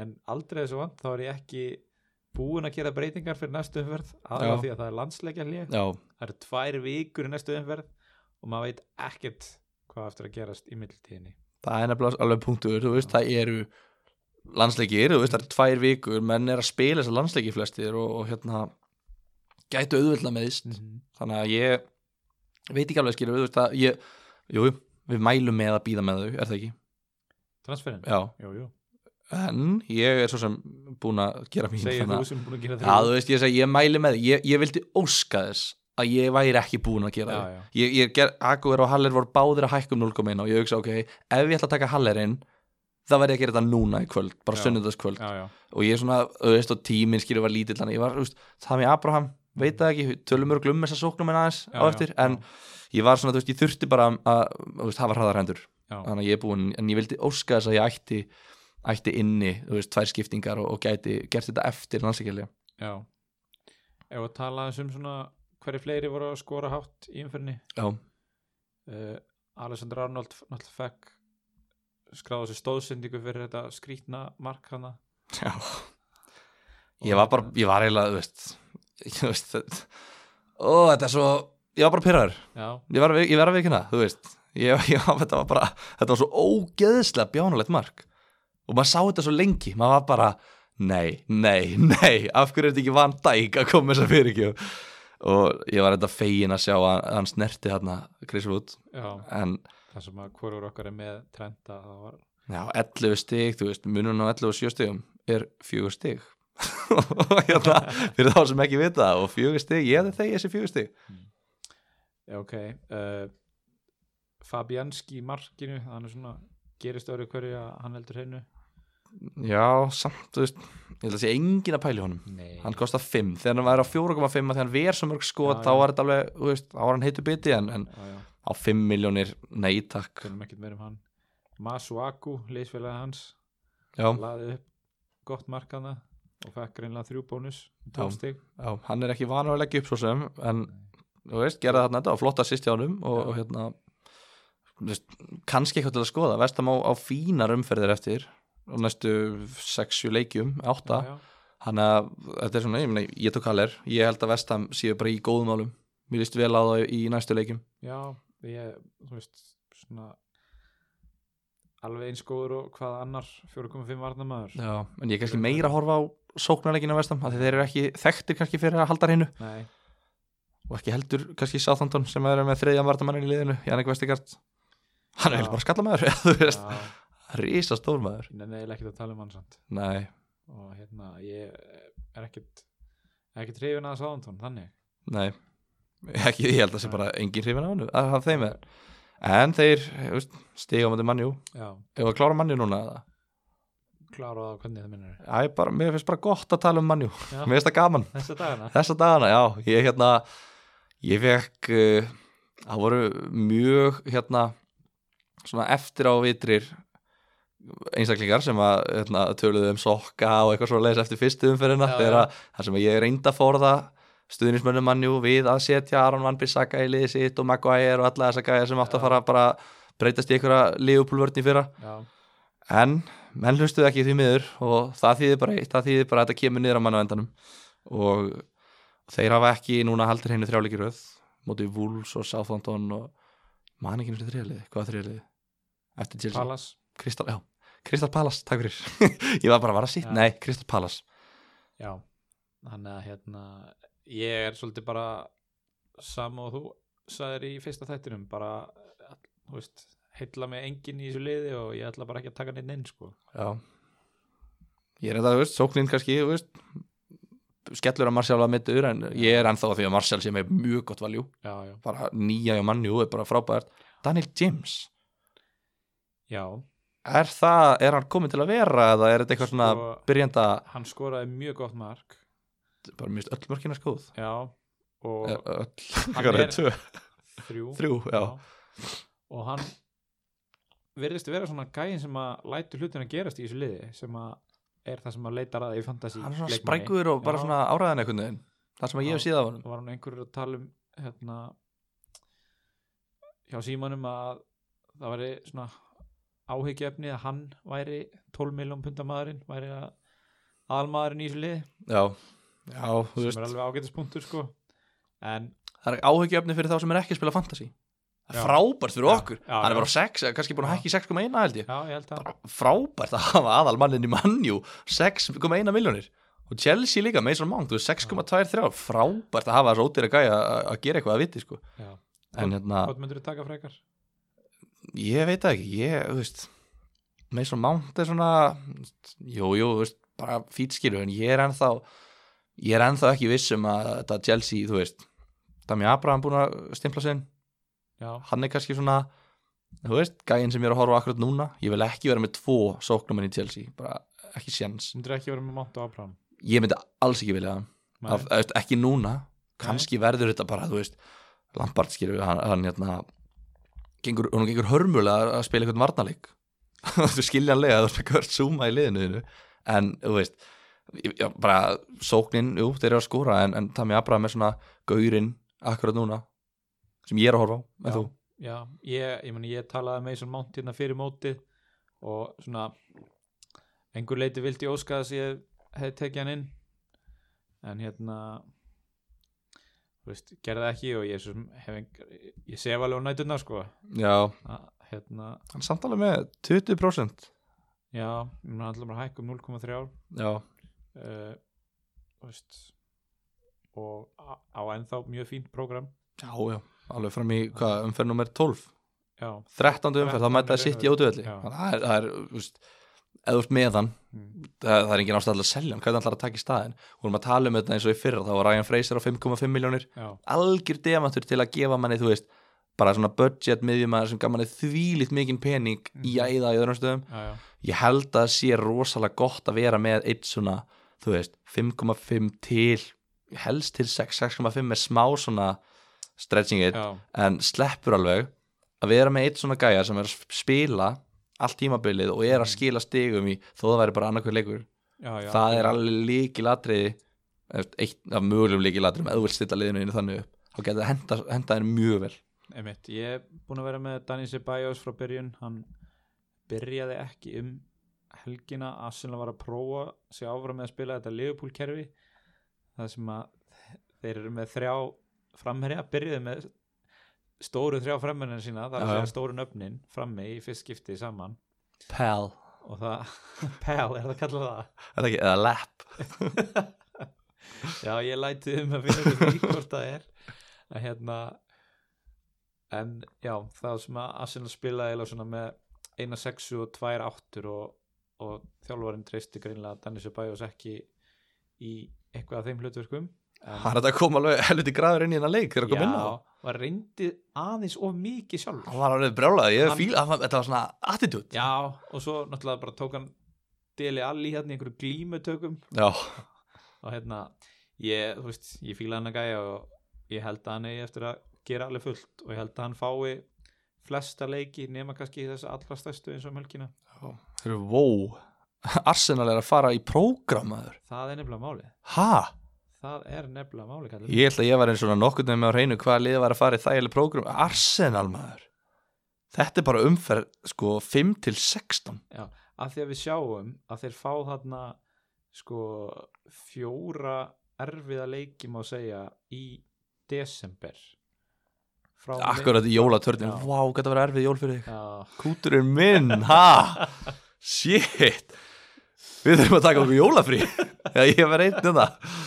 Speaker 2: en aldrei þessu vant þá er ég ekki búin að gera breytingar fyrir næstu umferð aðra
Speaker 1: Já.
Speaker 2: því að það er landsleikja hlýja
Speaker 1: já,
Speaker 2: það eru tvær vikur í næstu umferð og maður veit ekkert hvað á eftir að gerast í middiltíðinni
Speaker 1: það er nefnilega alveg punktur þú veist, það eru landsleikir þú veist, það eru tvær vikur, menn er að spila þessar landsleiki flestir og, og hérna gætu auðvöldla meðist
Speaker 2: Mhm.
Speaker 1: þannig að ég veit ekki alveg skilur þú veist að ég, jú, jú, við mælum með að býða með þau, er það ekki?
Speaker 2: transferin
Speaker 1: Já,
Speaker 2: jú, jú.
Speaker 1: en ég er svo sem búin að gera mín
Speaker 2: segir þú
Speaker 1: þannig að,
Speaker 2: sem er búin að gera
Speaker 1: já, þú veist, ég segi, ég mæli með þau ég, ég vildi óska þess að ég væri ekki búin að gera
Speaker 2: já,
Speaker 1: þau
Speaker 2: já.
Speaker 1: ég, ég ger, Aguero og Haller voru báðir að hækka um 0,1 og ég hugsa, ok, ef ég ætla að taka Hallerinn þá verði ég að gera þetta núna í kvöld bara
Speaker 2: Já.
Speaker 1: sunnudagskvöld
Speaker 2: Já, já.
Speaker 1: og ég er svona, þú veist, og tíminn skilur var lítill þannig, ég var, þú veist, það með Abraham veit það ekki, tölum örglum með þessa sóknum en aðeins
Speaker 2: Já,
Speaker 1: á eftir,
Speaker 2: já,
Speaker 1: en ég var svona, þú veist, ég þurfti bara að, þú veist, hafa hraðar hendur
Speaker 2: já.
Speaker 1: þannig að ég er búinn, en ég vildi óska þess að ég ætti ætti inni, þú veist, tvær skiptingar og, og gæti, gert þetta eftir landsleikilja
Speaker 2: já. ef að tala aðeins um svona hverju fleiri voru að skora hátt í umferðinni
Speaker 1: já,
Speaker 2: uh, Alessandr Arnold f- náttúrulega fekk skráða sér stóðsendingu fyrir þetta skrítna mark hana hérna,
Speaker 1: já ég var bara, ég var eiginlega, þú veist þú veist, þetta- ó, þetta er svo ég var bara pyrraður,
Speaker 2: já,
Speaker 1: ég var, að vi- ég var að vikina þú veist, ég, ég, þetta var bara þetta var svo ógeðslega bjánulegt mark og maður sá þetta svo lengi maður var bara, nei, nei, nei af hverju er þetta ekki van dæk að koma þess að fyrir og ég var þetta fegin að sjá að að hann snerti þarna Chris Wood,
Speaker 2: já,
Speaker 1: en
Speaker 2: það sem að hvorur okkar er með trenda það var
Speaker 1: já, 11 stig, þú veist, munun á 11 og 7 stigum er 4 stig og hérna, fyrir þá sem ekki vita það, og 4 stig, ég hefði þegi þessi 4 stig
Speaker 2: Já, ok uh, Fabianski í markinu hann er svona gerist öru hverju að hann heldur hennu
Speaker 1: Já, samt, þú veist Ég held að sé engin að pæli honum
Speaker 2: Nei.
Speaker 1: Hann kostar 5, þegar hann væri á 4,5 að Þegar hann ver svo mörg skot,
Speaker 2: Já,
Speaker 1: þá
Speaker 2: já.
Speaker 1: var þetta alveg þú veist, Þá var hann heitu biti, en, en
Speaker 2: já, já,
Speaker 1: á 5 miljónir Nei, takk
Speaker 2: kunum ekkert meira um hann Masuaku, leysfélagi hans
Speaker 1: Já,
Speaker 2: laði upp gott markana og fekk greinlega þrjú bónus tókstig,
Speaker 1: já, hann er ekki vanur að leggja upp svo sem En, þú veist, gera þarna þetta og flotta sýst hjá honum og,
Speaker 2: Já.
Speaker 1: og hérna þú veist, kannski eitthvað til að skoða Vestam á, á fínar umferðir eftir á næstu 6-7 leikjum, 8
Speaker 2: já, já,
Speaker 1: Þannig að þetta er svona, ég, meina, ég tók Haller, ég held að Vestam séu bara í góðum álum. Mér líst vel á það í næstu leikjum.
Speaker 2: já ég, þú veist, svona alveg eins góður og hvað annar 4,5 varnamaður
Speaker 1: Já. En ég er kannski meira að horfa á sóknarleikinu á Vestam, af því þeir eru ekki þekktir kannski fyrir að halda hreinu
Speaker 2: nei,
Speaker 1: og ekki heldur kannski Southampton sem er með þriðja vartamannin í liðinu, Jannik Vestigard. Hann er
Speaker 2: Já.
Speaker 1: eiginlega bara skallamæður, þú
Speaker 2: já,
Speaker 1: veist, rísa stórmæður.
Speaker 2: nei, nei, ekki að tala um hann samt
Speaker 1: Nei,
Speaker 2: og hérna, ég er ekkert ekkert hrifin að sáðantón, þannig
Speaker 1: nei, ekki, ég held að það sé bara engin hrifin á hannu, að hafa þeim er. En þeir, þú veist, stiga á mæti mannjú,
Speaker 2: já,
Speaker 1: ef að klára mannjú núna eða?
Speaker 2: klára það hvernig það minnur
Speaker 1: Æ, bara, mér finnst bara gott að tala um mannjú,
Speaker 2: Já.
Speaker 1: mér finnst það gaman.
Speaker 2: þessa dagana
Speaker 1: Þessa dagana, já, ég hérna ég fekk uh, það voru mjög hérna svona eftir á vitrir einstaklingar sem að hérna, töluðu um sokka og eitthvað svo leis eftir fyrstu umferðina
Speaker 2: Já,
Speaker 1: þegar
Speaker 2: já.
Speaker 1: að það sem ég reynda að forða stuðnismönnum mannjú við að setja Aron Van Bissaka í liðið sitt og Maguire og alla þessa gæja sem átt að
Speaker 2: Já.
Speaker 1: fara bara að breytast í einhverja liðupúlvörn í fyrra
Speaker 2: já,
Speaker 1: en menn hlustuðu ekki því miður og það þýðir bara eitt, það þýðir bara að þetta kemur niður á mann á endanum og þeir hafa ekki núna haldir henni þrjáleikir röð mótið Wolves og Southampton og man ekki náttúrulega þrjáliði, hvað þrjáliði eftir Chelsea,
Speaker 2: Pallas
Speaker 1: Kristal, já Kristal Palace, takk fyrir, ég var bara að vara sitt
Speaker 2: Já.
Speaker 1: nei, Kristal Palace,
Speaker 2: Já, þannig að hérna ég er svolítið bara sama og þú sagðir í fyrsta þættinum bara, þú veist heilla mig enginn í þessu liði og ég ætla bara ekki að taka neitt inn sko
Speaker 1: já ég er enda, þú veist, sóknin kannski, þú veist skellur að Marcial að mittur en ég er ennþá að því að Marcial sé með mjög gott valjú
Speaker 2: Já, já,
Speaker 1: bara nýja hjá mannjú, er bara frábært Daniel James
Speaker 2: já
Speaker 1: Er það, er hann komin til að vera eða er þetta eitthvað svona
Speaker 2: Sko,
Speaker 1: byrjanda
Speaker 2: hann skoraði mjög gott mark
Speaker 1: bara mjög öll mörkina skóð
Speaker 2: Já, og
Speaker 1: Ö- Eh, öll,
Speaker 2: Sko- Hann
Speaker 1: hvað er
Speaker 2: er-
Speaker 1: tvö,
Speaker 2: þrjú,
Speaker 1: þrjú, já,
Speaker 2: og hann verðist vera svona gæin sem að lætur hlutin að gerast í þessu liði sem að er það sem að leitar að í fantasy
Speaker 1: hann er svona
Speaker 2: leikmanni.
Speaker 1: sprækur og bara
Speaker 2: Já.
Speaker 1: svona áræðan einhvern veginn það sem að ég hef
Speaker 2: Já.
Speaker 1: síða af honum
Speaker 2: var hann einhverjur að tala um hérna hjá símanum að það væri svona áhyggjefni að hann væri 12 miljón pundamaðurinn væri að almaðurinn í þessu lið
Speaker 1: Já, já, þú
Speaker 2: sem
Speaker 1: veist
Speaker 2: er alveg ágætispunktur sko en
Speaker 1: það er áhyggjöfni fyrir þá sem er ekki að spila fantasy Það
Speaker 2: Já.
Speaker 1: er frábært fyrir
Speaker 2: Já,
Speaker 1: okkur
Speaker 2: já,
Speaker 1: hann
Speaker 2: já.
Speaker 1: er bara á 6, eða kannski búin að
Speaker 2: Já.
Speaker 1: hækka í 6,1 held ég
Speaker 2: já ég held að
Speaker 1: frábært að hafa aðal mannin í mannjú 6,1 miljónir og Chelsea líka, Mason Mount, þú veist, 6,23 frábært að hafa þessu ódýra gæja að- að gera eitthvað að viti sko.
Speaker 2: já.
Speaker 1: en hérna,
Speaker 2: hvað myndur þú taka frekar?
Speaker 1: ég veit það ekki, ég, þú veist Mason Mount er svona jú, jú, þú veist, bara fýt skilur en ég er ennþá ég er ennþá ekki viss um að þetta Chelsea, þú veist Dami Abraham búin að stimpla sinn
Speaker 2: já,
Speaker 1: hann er kannski svona þú veist, gæinn sem ég er að horfa á akkurat núna ég vil ekki vera með tvo sóknumenn í Chelsea bara ekki séns
Speaker 2: myndur ekki vera með mátt og áfram
Speaker 1: ég myndi alls ekki vilja það Af- þú veist, ekki núna, kannski verður þetta bara, þú veist, Lampard skilur við, hann, hann hérna gengur, hún gengur hörmulega að spila einhvern varnarleik þú skiljanlega þú ert með hvert súma í liðinu þínu. en þú veist, ég- já, bara sóknin, jú, þeir eru að skora en, en Tami Abraham er svona gaurinn akkurat núna, sem ég er að horfa á en
Speaker 2: Já.
Speaker 1: þú,
Speaker 2: Já, ég, ég, meni, ég talaði með Mason Mount hérna fyrir mótið og svona einhver leiti vildi ég óska þess að ég hefði tekið hann inn en hérna þú veist, gerði það ekki og ég, sem, hef, engar- ég sef alveg á nætuna sko
Speaker 1: já,
Speaker 2: að, hérna,
Speaker 1: hann samtalið með 20%
Speaker 2: já, ég meni, hann ætla bara að hækka um 0,3 ár
Speaker 1: já,
Speaker 2: uh, þú veist og á, á ennþá mjög fínt prógram
Speaker 1: já, já alveg fram í, hvað, umferð nummer 12
Speaker 2: já,
Speaker 1: 13. umferð, þá
Speaker 2: 13.
Speaker 1: mæta það sitt í ódöðli
Speaker 2: Já.
Speaker 1: það er, það er, þú veist eða þú ert með hann,
Speaker 2: mm,
Speaker 1: það, það er engin ástæðal að selja hann, hvað er það að taka í staðin og erum að tala um þetta eins og í fyrra, þá var Ryan Fraser á 5,5 miljónir
Speaker 2: já,
Speaker 1: algjör demantur til að gefa manni, þú veist bara svona budget miðjumæður sem gaf manni þvílitt mikinn pening í æða í öðrum stöðum
Speaker 2: já, já,
Speaker 1: ég held að það sé rosalega gott að vera með eitt svona, þú veist 5,5 til helst til 6, 6,5 með smá svona stretching it,
Speaker 2: já,
Speaker 1: en sleppur alveg að vera með eitt svona gæja sem er að spila allt tímabilið og er að
Speaker 2: Mm.
Speaker 1: skila stigum í þó það væri bara annarkvæð leikur
Speaker 2: já, já
Speaker 1: það er alveg líkilatriði eitt af mögulegum líkilatriðum ef þú vilt stilla liðinu inn þannig upp þá getur það henda, henda þér mjög vel
Speaker 2: Einmitt. Ég er búin að vera með Dani Ceballos frá byrjun hann byrjaði ekki um helgina að sinna var að prófa sig áfram með að spila þetta Liverpool kerfi það sem að þeir eru með þrjá framherja byrjuði með stóru þrjá framherja sína, það er að
Speaker 1: Já, já.
Speaker 2: segja stóru nöfnin frammi í fyrst skipti saman
Speaker 1: Pal,
Speaker 2: og það, Pell er það kallað það
Speaker 1: er það ekki, eða lap
Speaker 2: Já, ég læti um að finna þetta því hvort það er að hérna en já, það sem að Arsenal spilaði eða svona með eina sexu og tvær áttur og, og þjálfarinn treysti greinlega að Dannis Bajos ekki í eitthvað af þeim hlutverkum En-
Speaker 1: hann er þetta að koma alveg helviti graður inn í hennar leik þegar að koma inn á
Speaker 2: Já, var reyndi aðeins of mikið sjálfur
Speaker 1: hann var alveg brjálað, ég
Speaker 2: Hann-
Speaker 1: fíl hann, þetta var svona attitút
Speaker 2: Já, og svo náttúrulega bara tók hann deli allir hérna í einhverju glímutökum
Speaker 1: já,
Speaker 2: og hérna ég, þú veist, ég fíla hann að gæja og ég held að hann eigi eftir að gera alveg fullt og ég held að hann fái flesta leiki nema kannski þess allra stærstu eins og um mjölkina
Speaker 1: þeir eru wow Arsenal er að fara í prógramaður
Speaker 2: það er nefnilega máli
Speaker 1: ha,
Speaker 2: það er nefnilega máli kallar
Speaker 1: ég held að ég var eins og nokkur nefnum með á hreinu hvaða liðið var að fara í þægileg prógram Arsenal maður þetta er bara umferð sko 5 til 16
Speaker 2: af því að við sjáum að þeir fá þarna sko fjóra erfiða leiki má segja í desember frá
Speaker 1: Akkurat í jólatörnin,
Speaker 2: Já.
Speaker 1: vá, hvað það var erfið jól fyrir þig
Speaker 2: Já,
Speaker 1: Kúturinn minn, ha Shit Við þurfum að taka okkur jólafrí Já, ég var einn um það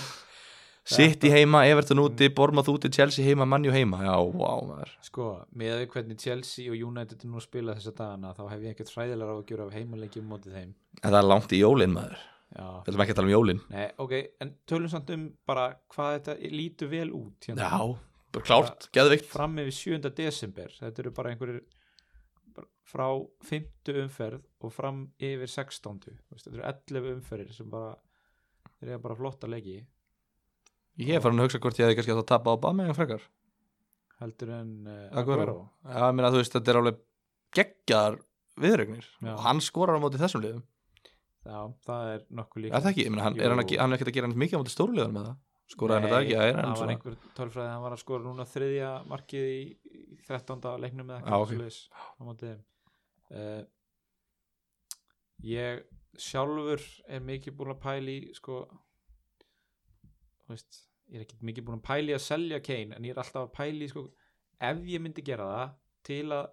Speaker 1: Sitt í heima, Everton úti, Bormað úti, Chelsea heima, Manju heima Já, vá, maður
Speaker 2: sko, með að við hvernig Chelsea og United er nú að spila þessa dagana þá hef ég ekkert fræðilega á að gera af heimaleikjum mótið þeim
Speaker 1: En það er langt í jólin, maður
Speaker 2: Já,
Speaker 1: Við ætlum ekki að tala um jólin
Speaker 2: nei, ok, en tölum samt um bara hvað þetta lítur vel út hérna.
Speaker 1: Já, bara klárt, geðvikt
Speaker 2: Fram yfir 7. desember, þetta eru bara einhverjir bara frá 5. umferð og fram yfir 16. Þú veist, Þetta eru 11 umferðir sem bara þeir eru bara flotta leiki
Speaker 1: Ég er farin að hugsa hvort ég hefði kannski átt að tapa á Bama eða frekar
Speaker 2: heldur en uh,
Speaker 1: Aguero. Já, ég meina, þú veist, þetta er alveg geggjar viðregnir
Speaker 2: Já.
Speaker 1: Og hann skorar á móti þessum liðum
Speaker 2: Já, það er nokkuð líka
Speaker 1: Er það ekki? Ég meina, hann, er hann, ekki, hann er ekki að gera hann mikið á móti stóruleðan með það Skoraði hann þetta ekki? Já, er hann
Speaker 2: það var
Speaker 1: svona-
Speaker 2: einhver tölfræði hann var að skora núna þriðja markið í í 13. leiknum eða
Speaker 1: Já, ok.
Speaker 2: okay. uh, ég sjálfur er mikið búin að pæli sko þú veist, ég er ekki mikið búin að pæli að selja Kane en ég er alltaf að pæli sko, ef ég myndi gera það til að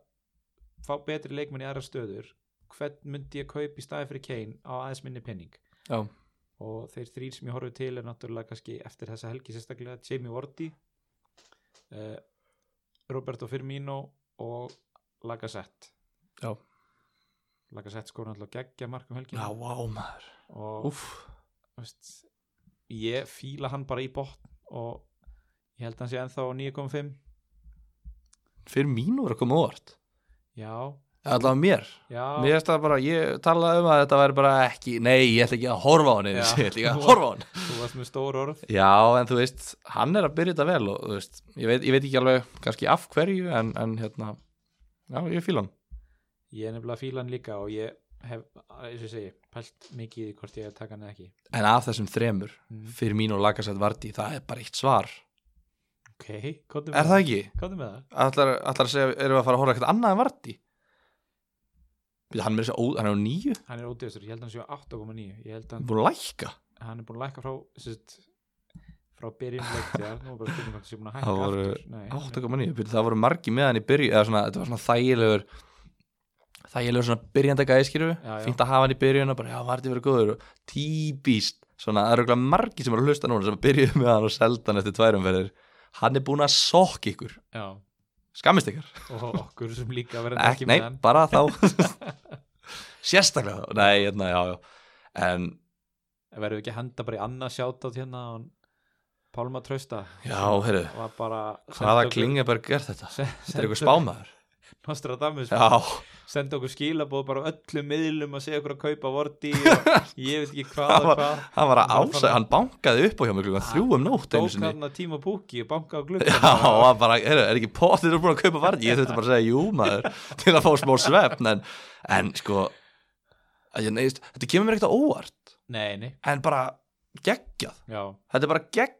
Speaker 2: fá betri leikmenn í aðra stöður hvern myndi ég kaupa í staði fyrir Kane á aðeins minni penning
Speaker 1: Já.
Speaker 2: og þeir þrýr sem ég horfið til er náttúrulega kannski eftir þessa helgi sérstaklega Jamie Vardy uh, Roberto Firmino og Lacazette
Speaker 1: Já.
Speaker 2: Lacazette skor náttúrulega geggja markum helgina
Speaker 1: Já, vá maður
Speaker 2: og
Speaker 1: Úf,
Speaker 2: þú veist, ég fíla hann bara í botn og ég held að hann sé ennþá á 9.5
Speaker 1: fyrir mín voru að koma óvart
Speaker 2: já,
Speaker 1: Allavega mér
Speaker 2: já,
Speaker 1: Mér erst það bara, ég talaði um að þetta væri bara ekki Nei, ég ætla ekki að horfa á hann einu
Speaker 2: Já.
Speaker 1: sinni, Ég ætla ekki að horfa á hann
Speaker 2: þú varst með stór orð
Speaker 1: Já, en þú veist, hann er að byrja þetta vel og þú veist, ég veit, ég veit ekki alveg kannski af hverju, en, en hérna Já, ég fíla hann
Speaker 2: ég er nefnilega að fíla hann líka og ég hef, eins og ég segi, pælt mikið í því hvort ég hef taka hann eða ekki
Speaker 1: En af þessum þremur,
Speaker 2: Mm.
Speaker 1: fyrir mín og lagasætt varti Það er bara eitt svar
Speaker 2: ok, komdu
Speaker 1: Er
Speaker 2: með
Speaker 1: það ekki?
Speaker 2: komdu með það
Speaker 1: Ætlar, ætlar að segja, erum við að fara að horfa eitthvað annað en varti? Hann, er meira að segja ó- hann er á nýju,
Speaker 2: hann er ódýrastur, ég held að hann sé á 8,9 ég held að
Speaker 1: búin að lækka
Speaker 2: hann er búin að lækka frá sérst, frá byrjun leiktiðar nú er bara spurning hvort það sé búin að hækka
Speaker 1: Það voru
Speaker 2: aftur Nei,
Speaker 1: 8,9, byrju, það voru margi með hann í byrju eða svona, þetta var svona þægilegur þægilegur svona byrjandagæði skýru
Speaker 2: Já, já.
Speaker 1: fínt að hafa hann í byrjun og bara, já, varði verið góður og típist, svona, það eru örugglega margi sem eru að hlusta núna sem byrjuðu með hann og selda hann eftir tværumferðir, hann er búin að sokk ykkur,
Speaker 2: já,
Speaker 1: skammist ykkar
Speaker 2: og okkur sem líka verður
Speaker 1: ekki,
Speaker 2: ekki
Speaker 1: nei,
Speaker 2: með hann
Speaker 1: bara þá sérstaklega, þá. nei, hérna, já, já en,
Speaker 2: verður ekki að henda bara í annað sjátt hérna og Pálma Trausta
Speaker 1: Já, heyrðu,
Speaker 2: var bara
Speaker 1: hvaða Klingeberg er þetta? Þetta er
Speaker 2: Sendur
Speaker 1: eitthvað spámaður
Speaker 2: Nostradamus
Speaker 1: Já,
Speaker 2: senda okkur skilabóð bara á öllum miðlum að segja okkur að kaupa vorti og ég veit ekki hvað
Speaker 1: Það
Speaker 2: og
Speaker 1: hann
Speaker 2: hvað
Speaker 1: var að
Speaker 2: Hann var
Speaker 1: ásæða,
Speaker 2: bara-
Speaker 1: hann bankaði upp á hjá mig klukkan þrjú um nótt einu
Speaker 2: tók
Speaker 1: sinni
Speaker 2: hann að tíma búki og banka á glugg
Speaker 1: Já, og hann bara, er, er ekki potið búin að kaupa varð ég þurfti bara að segja jú maður til að fá smá svefn en, en sko að ég neist, þetta kemur mér ekkert á óvart
Speaker 2: nei, nei,
Speaker 1: en bara geggjað,
Speaker 2: já,
Speaker 1: þetta er bara geggjað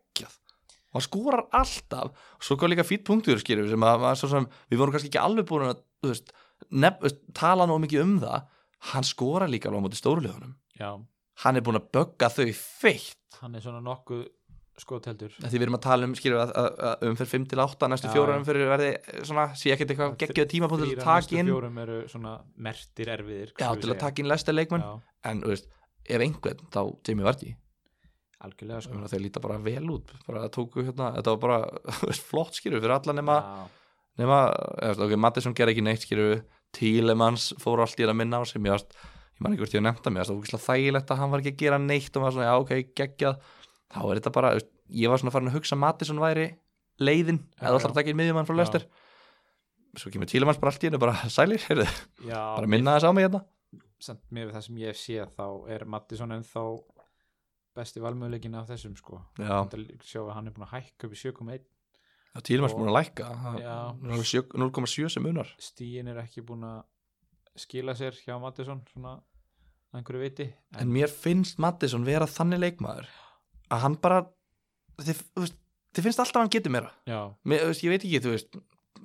Speaker 1: og hann skorar alltaf og svo kom líka fýtt punktur skýrjum sem að, að svo sem, við vorum kannski ekki alveg búin að þú veist, nef, þú veist, tala nóg mikið um það hann skorar líka alveg á móti stórulegunum
Speaker 2: já
Speaker 1: hann er búin að bögga þau feitt
Speaker 2: hann er svona nokkuð skoteldur
Speaker 1: Af Því við erum að tala um, skiljum við, að, að- að umferð 5 til 8 næstu
Speaker 2: Já,
Speaker 1: fjóra
Speaker 2: já.
Speaker 1: umferðir verði eh, svona, sé ekkert eitthvað geggjöð tímapunkt til
Speaker 2: Þrír
Speaker 1: að
Speaker 2: af
Speaker 1: taka
Speaker 2: næstu
Speaker 1: inn,
Speaker 2: fjórum eru svona mertir erfiðir
Speaker 1: já, til að taka inn læsta leikmenn,
Speaker 2: já,
Speaker 1: en, þú veist, ef einhvern, þá Jamie Vardy,
Speaker 2: algjörlega
Speaker 1: Ég
Speaker 2: sko
Speaker 1: meina, þeir líta bara vel út, bara tóku hérna, þetta var bara, þú veist, flott, skiljum við, fyrir alla nema,
Speaker 2: Já.
Speaker 1: nema, eða, ok, Mattisson ger ekki neitt, skiljum við, Tílemans fór allt í að minna á sem ég varst, ég man ekki hvort ég hef nefnt að mér, það var ógeðslega þægilegt að hann var ekki að gera neitt og maður svona, já, ok, geggjað, þá er þetta bara, þú veist, ég var svona farin að hugsa að Mattisson væri leiðin,
Speaker 2: Já,
Speaker 1: eða alltaf
Speaker 2: já.
Speaker 1: að taka einn miðjumann frá
Speaker 2: Já.
Speaker 1: lestir, svo kemur Tílemans bara allt í hennu, bara sælir, heyrðu,
Speaker 2: já,
Speaker 1: bara minna þess á mig hérna,
Speaker 2: samt mér við það sem ég sé þá er Mattisson ennþá besti valmöðuleikin af þessum sko
Speaker 1: já,
Speaker 2: Þetta sjá að hann er búin að hækka upp í 7,1
Speaker 1: Tílemans
Speaker 2: Og-
Speaker 1: búin að lækka,
Speaker 2: Já.
Speaker 1: það er 7 0,7 sem unar,
Speaker 2: stíin er ekki búin að skila sér hjá Mattisson svona að einhverju viti
Speaker 1: en mér finnst Mattisson vera þannig leikmaður að hann bara þið, þú veist, þið finnst alltaf að hann getur meira
Speaker 2: já,
Speaker 1: mér, þú veist, ég veit ekki, þú veist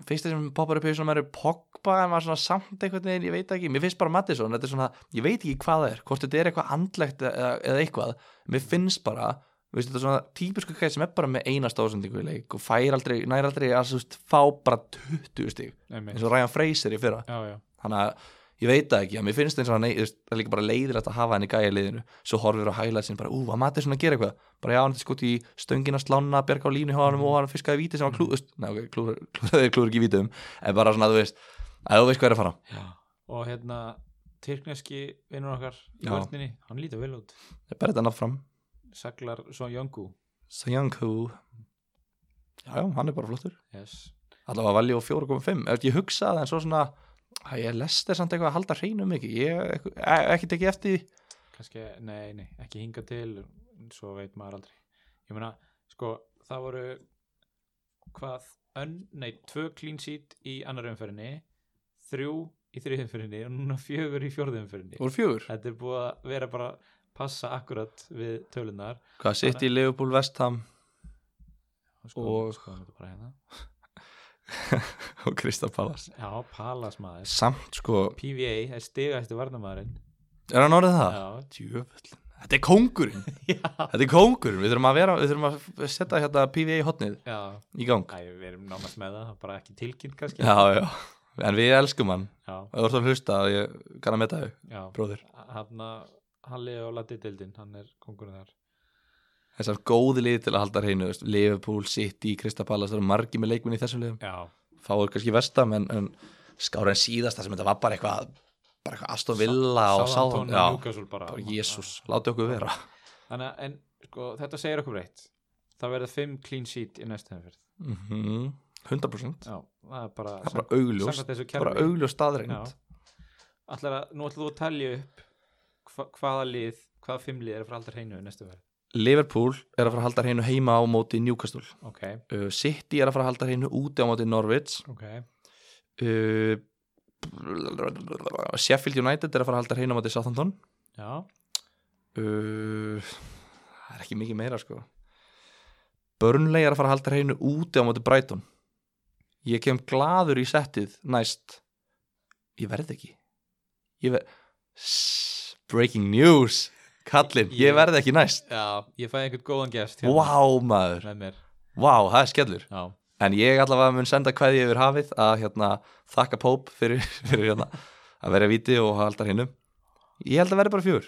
Speaker 1: fyrst það sem poppar upp í svona eru Pogba en var svona samt einhvern veginn, ég veit ekki mér finnst bara Mattisson, þetta er svona, ég veit ekki hvað það er hvort þetta er eitthvað andlegt eða, eða eitthvað mér finnst bara, þú veist, þetta er svona típisku kæð sem er bara með eina stásendingu í leik og fær aldrei, nær aldrei að þú veist, fá bara 20 stík,
Speaker 2: einmitt
Speaker 1: eins og Ryan Fraser í fyrra
Speaker 2: já, já,
Speaker 1: þannig að ég veit það ekki, að mér finnst eins og hann nei- þú veist, það er líka bara leiðilegt að hafa hann í gæja liðinu svo horfir á hælæðsinn bara, ú, að Matti svona að gera eitthvað bara já, hann er skot í stöngina slána berga á línu hjá hann og hann fiskaði víti sem var klú, mm. neða, ok, klúður, klúður, klúður ekki vítum en bara svona, þú veist, að þú veist hvað er að fara
Speaker 2: og hérna Tyrkneski vinnur okkar í
Speaker 1: Já.
Speaker 2: vörninni, hann lítur vel út
Speaker 1: ég berði þetta nafn fram,
Speaker 2: saglar svo Jöngu
Speaker 1: Sanyanku já, já, hann er bara flottur
Speaker 2: yes.
Speaker 1: allavega að valja á 4.5, Þú veist, ég hugsaði en svo svona, að ég lest er samt eitthvað að halda hreinum ekki, ég e, ekki tekið eftir því.
Speaker 2: kannski, nei, nei, ekki hinga til svo veit maður aldrei ég meina, sko, það voru hvað ön, nei, tvö clean sheet í annar umferðinni þrjú í þriðumferðinni og núna fjögur í fjórðumferðinni
Speaker 1: voru fjögur,
Speaker 2: þetta er búið að vera bara passa akkurat við tölunar
Speaker 1: hvað sitt í Leopold Vestham Og-
Speaker 2: sko, þetta bara hérna
Speaker 1: og Krista Pallas
Speaker 2: já, Palas maður
Speaker 1: samt sko,
Speaker 2: PVA er stigæstu varnamaðurinn
Speaker 1: er hann orðið það?
Speaker 2: já,
Speaker 1: Djöfull, þetta er kóngurinn
Speaker 2: já,
Speaker 1: þetta er kóngurinn, við þurfum að vera við þurfum að setja hérna PVA hotnið
Speaker 2: já
Speaker 1: í gang,
Speaker 2: Æ, við erum námast með það, bara ekki tilkynnt kannski
Speaker 1: já já en við elskum hann,
Speaker 2: já,
Speaker 1: ef þú ert að hlusta að ég kann að metta þau,
Speaker 2: já.
Speaker 1: bróðir
Speaker 2: hann Halli og Latti Dildin, hann er kongurinn þar
Speaker 1: þessar góði liði til að halda hreinu, þú veist, Liverpool, City, Krista Pallas, það eru margi með leikminni í þessum liðum,
Speaker 2: já,
Speaker 1: þá er kannski vestam en, en skára en síðast það sem þetta var bara eitthvað bara eitthvað Aston Villa og Sáðan,
Speaker 2: Sáðantón og
Speaker 1: já,
Speaker 2: Newcastle bara
Speaker 1: bara Jésús láti okkur vera,
Speaker 2: Þannig, að- en sko, þetta segir okkur reitt það verða fimm clean sheet í næstu hefnferð
Speaker 1: Mhm, 100%
Speaker 2: já, það er bara,
Speaker 1: það er bara augljós
Speaker 2: samkvæmt þessu
Speaker 1: bara
Speaker 2: kerfi
Speaker 1: augljós staðreind
Speaker 2: Ætlar að, nú ætlar þú að telja upp hva, hvaða lið, hvaða fimm lið er frá aldar hreinu í næstu verð
Speaker 1: Liverpool er að fara að halda hreinu heima á móti Newcastle
Speaker 2: ok,
Speaker 1: uh, City er að fara að halda hreinu úti á móti Norwich
Speaker 2: ok,
Speaker 1: uh, Sheffield United er að fara að halda hreinu á móti Southampton
Speaker 2: já
Speaker 1: uh, það er ekki mikið meira sko Burnley er að fara að halda hreinu úti á móti Brighton ég kem gladur í settið næst ég verð ekki ég verð Sss, breaking news kallinn, ég
Speaker 2: Ég-
Speaker 1: verð ekki næst
Speaker 2: já, ég fæði einhvern góðan gest
Speaker 1: Vá
Speaker 2: hérna
Speaker 1: maður,
Speaker 2: með mér,
Speaker 1: vá það er skellur
Speaker 2: já,
Speaker 1: En ég allavega mun senda kveði yfir hafið að hérna, þakka Póp fyrir, fyrir hérna, að vera viti og halda hinnum Ég held að vera bara fjör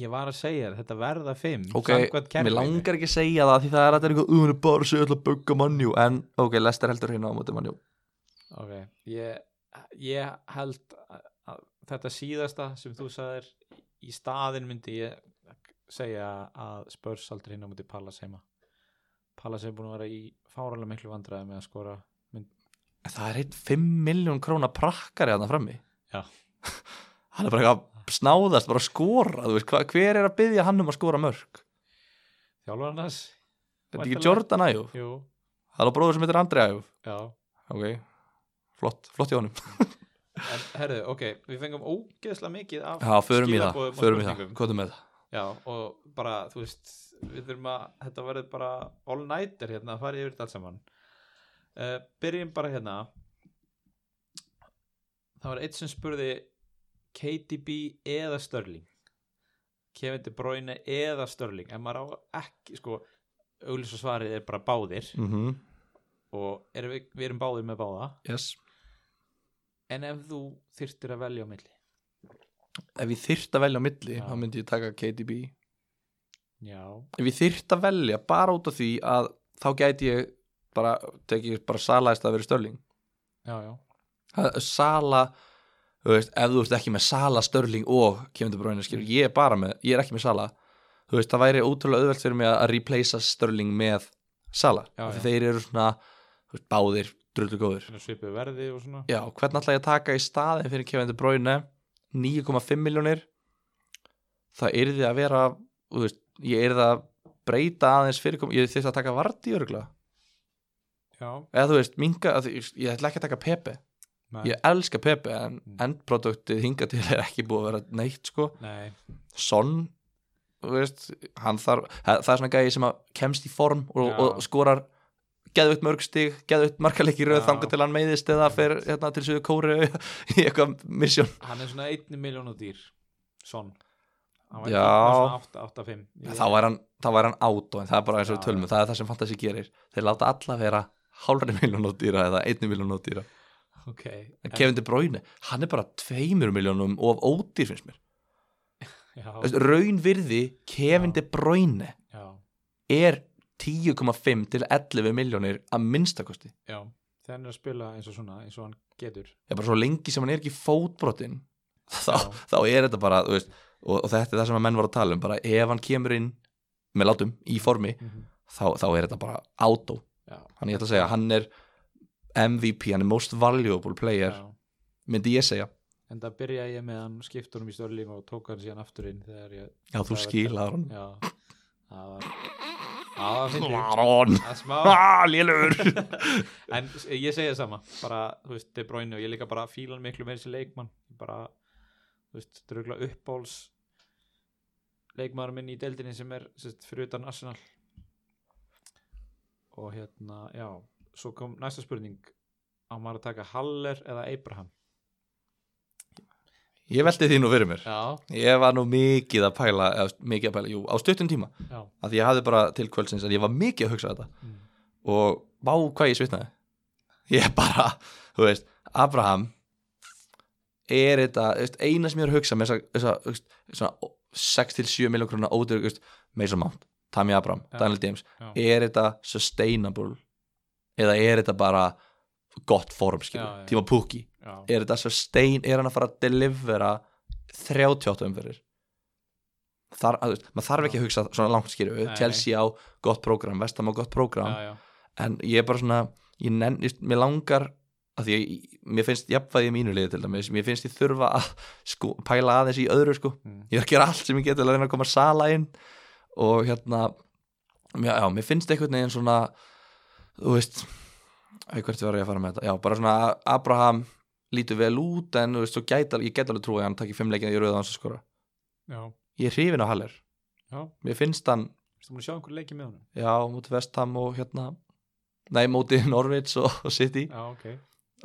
Speaker 2: ég var að segja þér, þetta verða fimm
Speaker 1: Ok,
Speaker 2: samkvæmt
Speaker 1: Mér
Speaker 2: kerfinu.
Speaker 1: langar ekki að segja það því það er að þetta er eitthvað uðinu bara séu öll að bugga mannjú en ok, Lester heldur hérna á móti mannjú
Speaker 2: Ok, ég, ég held að- að þetta síðasta sem þú sagðir í staðin myndi ég segja að Spurs aldrei hinn á múti Pallas heima Pallas hefur búin að vera í fáralega miklu vandræði með að skora
Speaker 1: En það er eitt 5 miljón króna prakkari hann frammi
Speaker 2: Já.
Speaker 1: Hann er bara eitthvað að snáðast, bara að skora þú veist, hva, Hver er að byggja hann um að skora mörg?
Speaker 2: þjálfur hann þess
Speaker 1: Þetta er ekki
Speaker 2: Væntanlega.
Speaker 1: Jordan Æjú
Speaker 2: Jú,
Speaker 1: Það er á bróður sem heitir Andri Æjú
Speaker 2: já
Speaker 1: Ok, flott, flott í honum
Speaker 2: En herðu, ok, við fengum ógeðslega mikið af
Speaker 1: Já, förum í það,
Speaker 2: skilaboðum og
Speaker 1: förum í það,
Speaker 2: spurningum.
Speaker 1: kvotum með það
Speaker 2: Já, og bara, þú veist við þurfum að, þetta verður bara all nighter hérna að fara yfir þetta allt saman uh, Byrjum bara hérna Það var eitt sem spurði KDB eða Störling Kevin De Bruyne eða Störling en maður á ekki, sko auðvitað svarið er bara báðir
Speaker 1: mm
Speaker 2: og erum við, við erum báðir með báða
Speaker 1: Yes
Speaker 2: en ef þú þyrtir að velja á milli
Speaker 1: Ef ég þyrft að velja á milli,
Speaker 2: Já.
Speaker 1: þá myndi ég taka KDB
Speaker 2: Já,
Speaker 1: Ef ég þyrft að velja bara út af því að þá gæti ég bara, teki ég bara salaðist að vera störling
Speaker 2: já, já
Speaker 1: Það- Sala, þú veist, ef þú ert ekki með Sala, Störling og Kevin De Bruyne skilur, ég er bara með, ég er ekki með Sala þú veist, það væri ótrúlega auðvelt fyrir mig að að replacea Störling með Sala
Speaker 2: Já,
Speaker 1: Af því
Speaker 2: já.
Speaker 1: þeir eru svona, þú veist, báðir drullu góður.
Speaker 2: Svona svipuð verði og svona
Speaker 1: Já, hvern ætla ég að taka í staðin fyrir Kevin De Bruyne 9,5 miljónir það yrði að vera þú veist, ég yrði að breyta aðeins fyrirkom, ég þyrfti að taka Vardí örgla,
Speaker 2: Já,
Speaker 1: eða þú veist, minga að því- ég ætla ekki að taka Pepe
Speaker 2: nei,
Speaker 1: ég elska Pepe en
Speaker 2: Mm.
Speaker 1: endproduktið hinga til er ekki búið að vera neitt sko
Speaker 2: nei
Speaker 1: Son þú veist, hann þar, það það er svona gæði sem að kemst í form og,
Speaker 2: Já.
Speaker 1: og skorar geðveitt mörg stig, geðveitt markaleiki röð
Speaker 2: Já.
Speaker 1: þangar til hann meiðist eða fer hérna, til Suðu Kóru í eitthvað misjón
Speaker 2: Hann er svona einni miljónu dýr Svon
Speaker 1: Já.
Speaker 2: 8-5
Speaker 1: þá væri hann, þá væri hann át en það er bara eins og við
Speaker 2: Já,
Speaker 1: tölum, um, það er það sem fantasi gerir þeir láta alla vera hálfari miljón á dýra eða einni miljón á dýra
Speaker 2: Ok
Speaker 1: en Kevin De Bruyne, hann er bara tveimur miljónum of ódýr finnst mér
Speaker 2: Já,
Speaker 1: Þessi, raunvirði Kevin
Speaker 2: Já.
Speaker 1: De Bruyne
Speaker 2: já,
Speaker 1: er 10,5 til 11 miljónir að minnstakosti
Speaker 2: já Þegar hann er að spila eins og svona eins og hann getur
Speaker 1: ég bara svo lengi sem hann er ekki fótbrotinn þá,
Speaker 2: Já.
Speaker 1: þá er þetta bara þú veist, og, og þetta er það sem að menn var að tala um bara ef hann kemur inn með látum í formi þá, þá er þetta bara átó
Speaker 2: Já,
Speaker 1: hann ég ætla að segja, hann er MVP, hann er most valuable player
Speaker 2: já
Speaker 1: myndi ég segja,
Speaker 2: En það byrjaði ég með hann skiptunum í störling og tók hann síðan aftur inn þegar ég
Speaker 1: já þú
Speaker 2: Það er-
Speaker 1: skilaður hann
Speaker 2: Já Það var Það var fyndið
Speaker 1: Aron,
Speaker 2: Það er smá
Speaker 1: ah, lélugur
Speaker 2: en ég segja sama bara, þú veist, De Bruyne og ég líka bara fílan miklu með þessi leikmann bara, þú veist, drögla uppbóls leikmaður minn í deildinni sem er sérst, fyrir utan Arsenal og hérna, já svo kom næsta spurning á maður að taka Haller eða Abraham
Speaker 1: ég velti því nú fyrir mér
Speaker 2: já,
Speaker 1: ég var nú mikið að pæla, eða, mikið að pæla jú, á stuttum tíma,
Speaker 2: já,
Speaker 1: að ég hafði bara til kvöldsins en ég var mikið að hugsa þetta
Speaker 2: mm.
Speaker 1: og vá hvað ég svitnaði ég bara, þú veist Abraham er þetta, þú veist, eina sem ég er að hugsa með þess að, svona 6-7 miljón krona ódur, þú veist, Mason Mount Tammy Abraham,
Speaker 2: Já.
Speaker 1: Daniel James
Speaker 2: já,
Speaker 1: er þetta sustainable eða er þetta bara gott form,
Speaker 2: Já,
Speaker 1: skilur,
Speaker 2: já.
Speaker 1: tíma púki
Speaker 2: já,
Speaker 1: er þetta sustain, er hann að fara að delivera 38 umferðir Þar, að, þú veist, maður þarf ekki að hugsa svona langt skilju
Speaker 2: Nei.
Speaker 1: Chelsea á gott prógram, Vestam á gott prógram
Speaker 2: já, já.
Speaker 1: en ég er bara svona ég nenn, ég, mér langar að því að ég, mér finnst jafnvæði í mínu liði til dæmis mér finnst ég þurfa að sko, pæla aðeins í öðru sko,
Speaker 2: Mm.
Speaker 1: ég er að gera allt sem ég get til að reyna að koma sala inn og hérna já, já, mér finnst einhvern veginn svona þú veist ei, hvert var ég að fara með þetta, já, bara svona Abraham lítur vel út en þú veist, svo gæt, alveg- ég get alveg trúið að hann takki fimmleikina í rauða hans að skora,
Speaker 2: já,
Speaker 1: ég er hrifin á Haller
Speaker 2: já.
Speaker 1: mér finnst hann,
Speaker 2: Ertu búin að sjá einhver leiki með honum?
Speaker 1: já, múti Vestham og hérna, nei, múti Norvits og, og City
Speaker 2: Já, ok,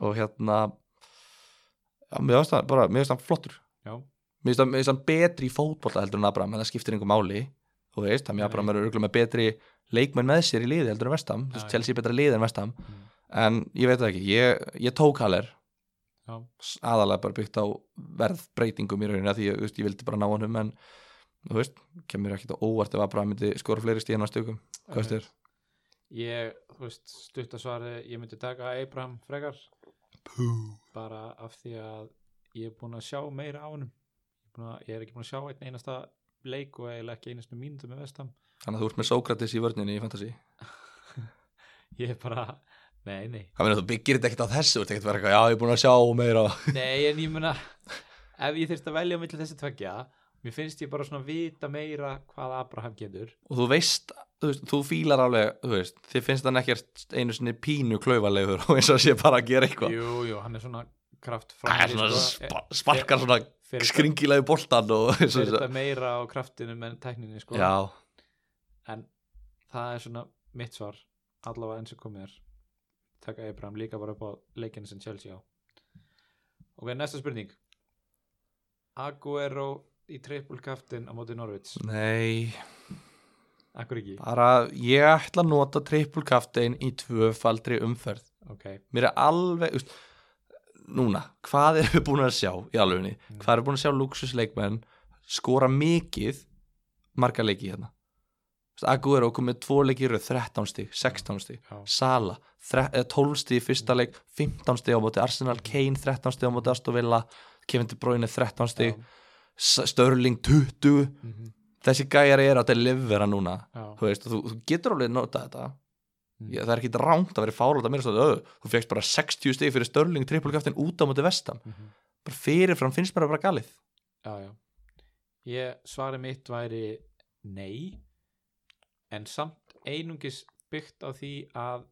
Speaker 1: og hérna já, mér finnst hann bara, mér finnst hann flottur
Speaker 2: já,
Speaker 1: mér finnst hann- mér finnst hann betri í fótbolta heldur en Abram en það skiptir einhver máli þú veist, þannig að Abram eru örgulega með betri leikmenn með sér í liði heldur en Vestam þú veist,
Speaker 2: Já, já.
Speaker 1: Chelsea er betra liði en Vestam
Speaker 2: Mm.
Speaker 1: en ég veit það ekki, ég, ég tók Haller
Speaker 2: Já.
Speaker 1: S- aðalega bara byggt á verðbreytingum í rauninni af því ég, þú veist, ég vildi bara ná honum en þú veist, kemur ekki á óvart ef Abram myndi skora fleiri stíðan á stökum hvað veist þér?
Speaker 2: Eh, Ég, þú veist, stutt að svara ég myndi taka Abraham frekar bara af því að ég er búin að sjá meira á honum ég er, búin að, ég er ekki búin að sjá einn einasta leik og eiginlega ekki einustu mínútu með vestam
Speaker 1: Þannig að þú ert með Sókrates í vörninni í fantasy
Speaker 2: ég er bara, nei, nei
Speaker 1: Það meina þú byggir þetta ekkert á þessu, þú ert ekkert að vera eitthvað, já ég er búin að sjá meira
Speaker 2: Nei, en ég meina ef ég þyrst að velja á milli þessi tveggja mér finnst ég bara svona vita meira hvað Abraham getur
Speaker 1: og þú veist, þú, veist, þú fílar alveg, þú veist, þið finnst hann ekkert einu sinni pínu klaufalegur og eins og sé bara að gera eitthvað.
Speaker 2: Jú, jú, hann er svona eh, kraft
Speaker 1: Það er svona spa sparkar svona skringilegu boltan og eins og
Speaker 2: fyrir
Speaker 1: þessu.
Speaker 2: þetta meira á kraftinu menn tækninni sko.
Speaker 1: Já,
Speaker 2: en það er svona mitt svar allavega eins og komið er taka Abraham líka bara upp á leikinu sem Chelsea á ok, næsta spurning Aguero í triple captain á móti Norvits
Speaker 1: nei,
Speaker 2: akkur ekki,
Speaker 1: bara ég ætla að nota triple captain í tvöfaldri umferð.
Speaker 2: ok
Speaker 1: Mér er alveg, þú veist, núna, hvað erum við búin að sjá í alvegunni?
Speaker 2: Mm.
Speaker 1: Hvað erum við búin að sjá luxusleikmenn skora mikið marga leiki hérna? Þú veist, Aguero kom með tvo leiki í röð, 13 stík, 16 stík.
Speaker 2: Já.
Speaker 1: Sala, þre- eh, 12 stíð í fyrsta leik 15 stíð á móti Arsenal, Kane 13 stíð á móti Aston Villa, Kevin De Bruyne 13
Speaker 2: Já.
Speaker 1: stíð, Störling 20,
Speaker 2: Mhm.
Speaker 1: þessi gæjar er að delivera núna,
Speaker 2: Já.
Speaker 1: þú veist og þú, þú getur alveg nota þetta
Speaker 2: Mm.
Speaker 1: Ég, það er ekki rámt að vera fárúld að mér stóð öðu, þú fegst bara 60 stíð fyrir Störling trippulgaftin út á móti vestam
Speaker 2: Mhm.
Speaker 1: bara fyrirfram finnst mér að bara galið
Speaker 2: Já, já. Ég svarið mitt væri nei, en samt einungis byggt á því að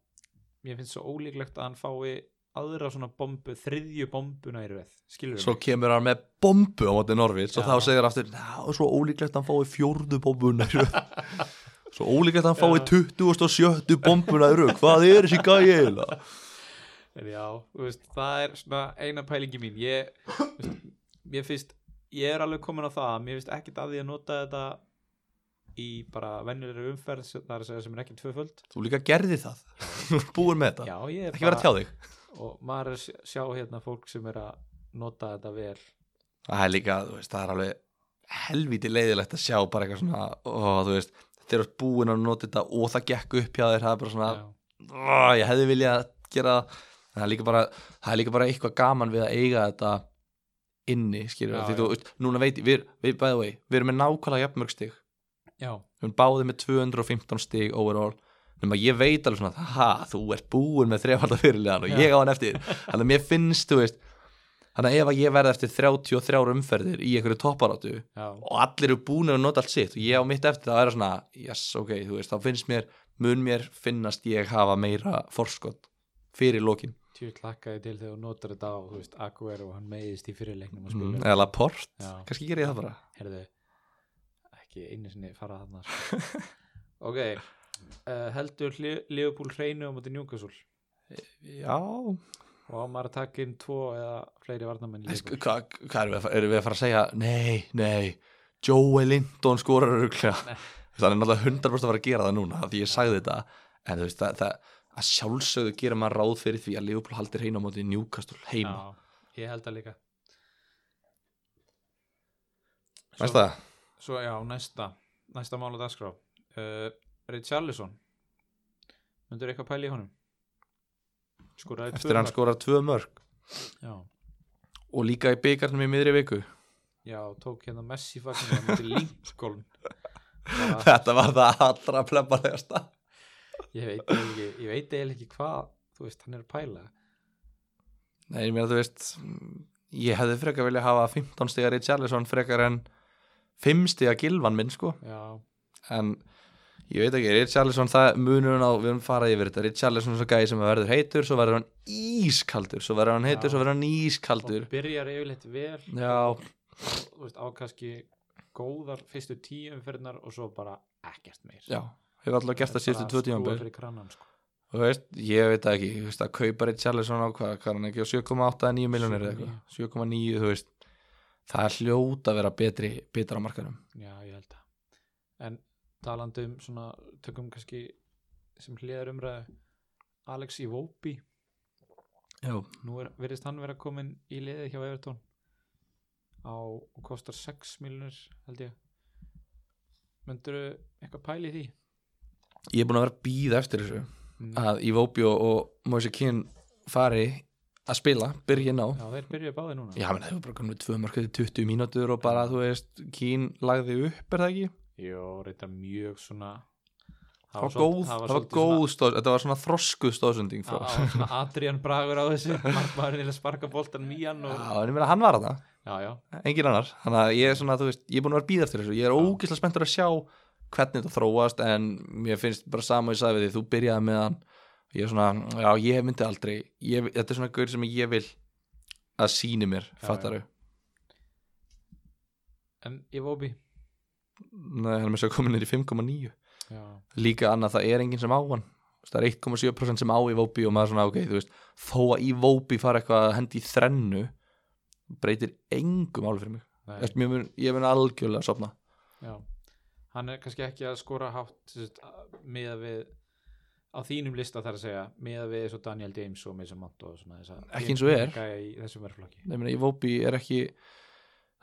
Speaker 2: mér finnst svo ólíklegt að hann fái aðra svona bombu, þriðju bombuna í röð, skilur
Speaker 1: svo kemur hann með bombu á móti Norvits og
Speaker 2: Já.
Speaker 1: þá segir aftur, ná, svo ólíklegt að hann fái fjórðu bombuna í röð." svo ólíklegt að hann fái
Speaker 2: Já.
Speaker 1: 27. bombuna í röð hvað er þessi gæi eiginlega
Speaker 2: En já, þú veist, það er svona eina pælingi mín. Ég, þú veist, mér finnst, ég er alveg komin á það, mér finnst ekkit að því að nota þetta í bara venjulegri umferð, sem- það er að segja sem er ekki tvöföld.
Speaker 1: þú líka gerði það, Þú ert búin með þetta
Speaker 2: Já, ég er
Speaker 1: ekki vera að tjá þig
Speaker 2: og maður er að sjá- sjá hérna fólk sem er að nota þetta vel
Speaker 1: það er líka, þú veist, það er alveg helviti leiðilegt að sjá bara eitthvað svona ó, þú veist, þegar þú ert búin að nota þetta og það gekk upp hjá þér, það er bara svona
Speaker 2: Já.
Speaker 1: ó, ég hefði viljað gera það En það er líka bara, það er líka bara eitthvað gaman við að eiga þetta inni, skilur
Speaker 2: Já,
Speaker 1: því
Speaker 2: já.
Speaker 1: þú veist, núna veit, ég, við, við, by the way við erum með nákvæmlega jafnmörgstig við
Speaker 2: Já,
Speaker 1: erum báðið með 215 stig overall nema ég veit alveg svona ha, þú ert búin með þrefaldar fyrirlegan og
Speaker 2: Já.
Speaker 1: ég á hann eftir, þannig að mér finnst þú veist, þannig að ef að ég verði eftir 33 umferðir í einhverju topparáttu
Speaker 2: já,
Speaker 1: og allir eru búin að nota allt sitt og ég á mitt eftir það að vera svona yes, ok, þú veist, þá finnst mér mun mér finnast ég hafa meira forskot fyrir lokin
Speaker 2: tjúið klakkaði til þegar þú notar þetta á, þú veist, Aguero, hann meiðist í fyrirleiknum að
Speaker 1: mm,
Speaker 2: spila.
Speaker 1: eða Laport,
Speaker 2: Mhm. Já.
Speaker 1: kannski ger ég það bara
Speaker 2: Herðu, ekki einu sinni fara þarna. sko. ok, uh, heldur Leopold hreinu á móti Newcastle
Speaker 1: já,
Speaker 2: og á maður að taka inn tvo eða fleiri varnamenn í
Speaker 1: Sk-
Speaker 2: Liverpool?
Speaker 1: hvað sko, hva erum, við að fara- erum við að fara að segja nei, nei, Joey Linton skorar öruglega
Speaker 2: Nei.
Speaker 1: þannig er náttúrulega 100% að fara að gera það núna af því ég sagði þetta, en þú veist það, það, að sjálfsögðu gera maður ráð fyrir því að Liverpool haldir heina á móti Newcastle heima
Speaker 2: Já, ég held það líka.
Speaker 1: veist það,
Speaker 2: Svo já, næsta, næsta mál og dagskrá. Uh, Richarlison, myndur eitthvað pæli í honum? Skoraði tvö
Speaker 1: eftir hann sko-
Speaker 2: mörk.
Speaker 1: skorar tvö mörg
Speaker 2: Já.
Speaker 1: og líka í byggarnum í miðri viku
Speaker 2: Já, tók hérna Messi fagnir á móti Lincoln bara,
Speaker 1: Þetta var það allra plebbalegasta
Speaker 2: ég veit eiginlega ekki, ég veit eiginlega ekki hvað þú veist, hann er að pæla
Speaker 1: Nei, ég meina þú veist Ég hefði frekar vilja hafa 15 stigar í Charlison frekar en 5 stigar gilvan minn sko
Speaker 2: Já,
Speaker 1: En ég veit ekki, Richarlison það munur hann á, við erum farað yfir þetta Richarlison er svo gæði sem verður heitur, svo verður hann ískaldur Svo verður hann heitur,
Speaker 2: Já.
Speaker 1: svo verður hann
Speaker 2: og
Speaker 1: ískaldur
Speaker 2: byrjar yfirleitt vel
Speaker 1: Já,
Speaker 2: þú veist, á kannski góðar fyrstu tíu umferðnar og svo bara ekkert meir
Speaker 1: já, hefur alltaf gert það síðustu tvö tímanbjör
Speaker 2: fyrir krannan sko
Speaker 1: Þú veist, ég veit það ekki, þú veist, að kaupa Richarlison á hvað, hvað er hann ekki á 7,8 að 9 miljonir eða eitthvað, 7,9, þú veist það er hljóta að vera betri betra á markarum.
Speaker 2: Já, ég held það En talandi um svona, tökum kannski sem hliðar umræðu Alex Iwobi,
Speaker 1: Já.
Speaker 2: nú er, verðist hann vera komin í liðið hjá Evertón á, og kostar 6 miljonir held ég Möndurðu eitthvað pæli í því?
Speaker 1: Ég er búin að vera að býða eftir þessu
Speaker 2: Mm.
Speaker 1: að Ivobi og, og Moise Kinn fari að spila, byrjun á
Speaker 2: Já, þeir byrjuðu báði núna
Speaker 1: Já, menn, það hefur bara komið tvö mörgum 20 mínútur og bara, þú veist, Kín lagði upp, er það ekki?
Speaker 2: Jó, reyndar mjög svona
Speaker 1: Það var góð,
Speaker 2: svol-
Speaker 1: það var
Speaker 2: svolítið
Speaker 1: góð stóð, þetta var svona þrosku stóðsending frá
Speaker 2: svona- það var svona Adrian Bragur á þessu margmaðurinn er að sparka boltan mýjan
Speaker 1: Já,
Speaker 2: og...
Speaker 1: en ég meina, hann var það,
Speaker 2: Já, já,
Speaker 1: engin annar Þannig að ég er svona, þú veist, ég er búin að vera býð eftir þessu Ég er
Speaker 2: Já.
Speaker 1: ógeðslega spenntur að sjá hvernig þetta þróast En mér finnst bara sama og ég sagði við því, þú byrjaði með hann Ég er svona, já, ég myndi aldrei ég, Þetta er svona gaur sem ég vil að síni mér,
Speaker 2: Já,
Speaker 1: fattaru
Speaker 2: en ég vóbi
Speaker 1: Nei, hann er með svo komin nýr í 5,9
Speaker 2: Já,
Speaker 1: líka annað það er enginn sem á hann Þú veist, það er 1,7% sem á í Vóbi og maður svona ok, þú veist, þó að í Vóbi fara eitthvað að hendi í þrennu breytir engum áli fyrir mig
Speaker 2: nei,
Speaker 1: Eftir, mér mun, ég mun algjörlega að sopna
Speaker 2: já Hann er kannski ekki að skora hátt með að við á þínum lista þar að segja með að við svo Daniel James og Mason Mount og svona þess að
Speaker 1: Ekki eins og er.
Speaker 2: í þessum verflokki
Speaker 1: Nei, meni, í Vóbi er ekki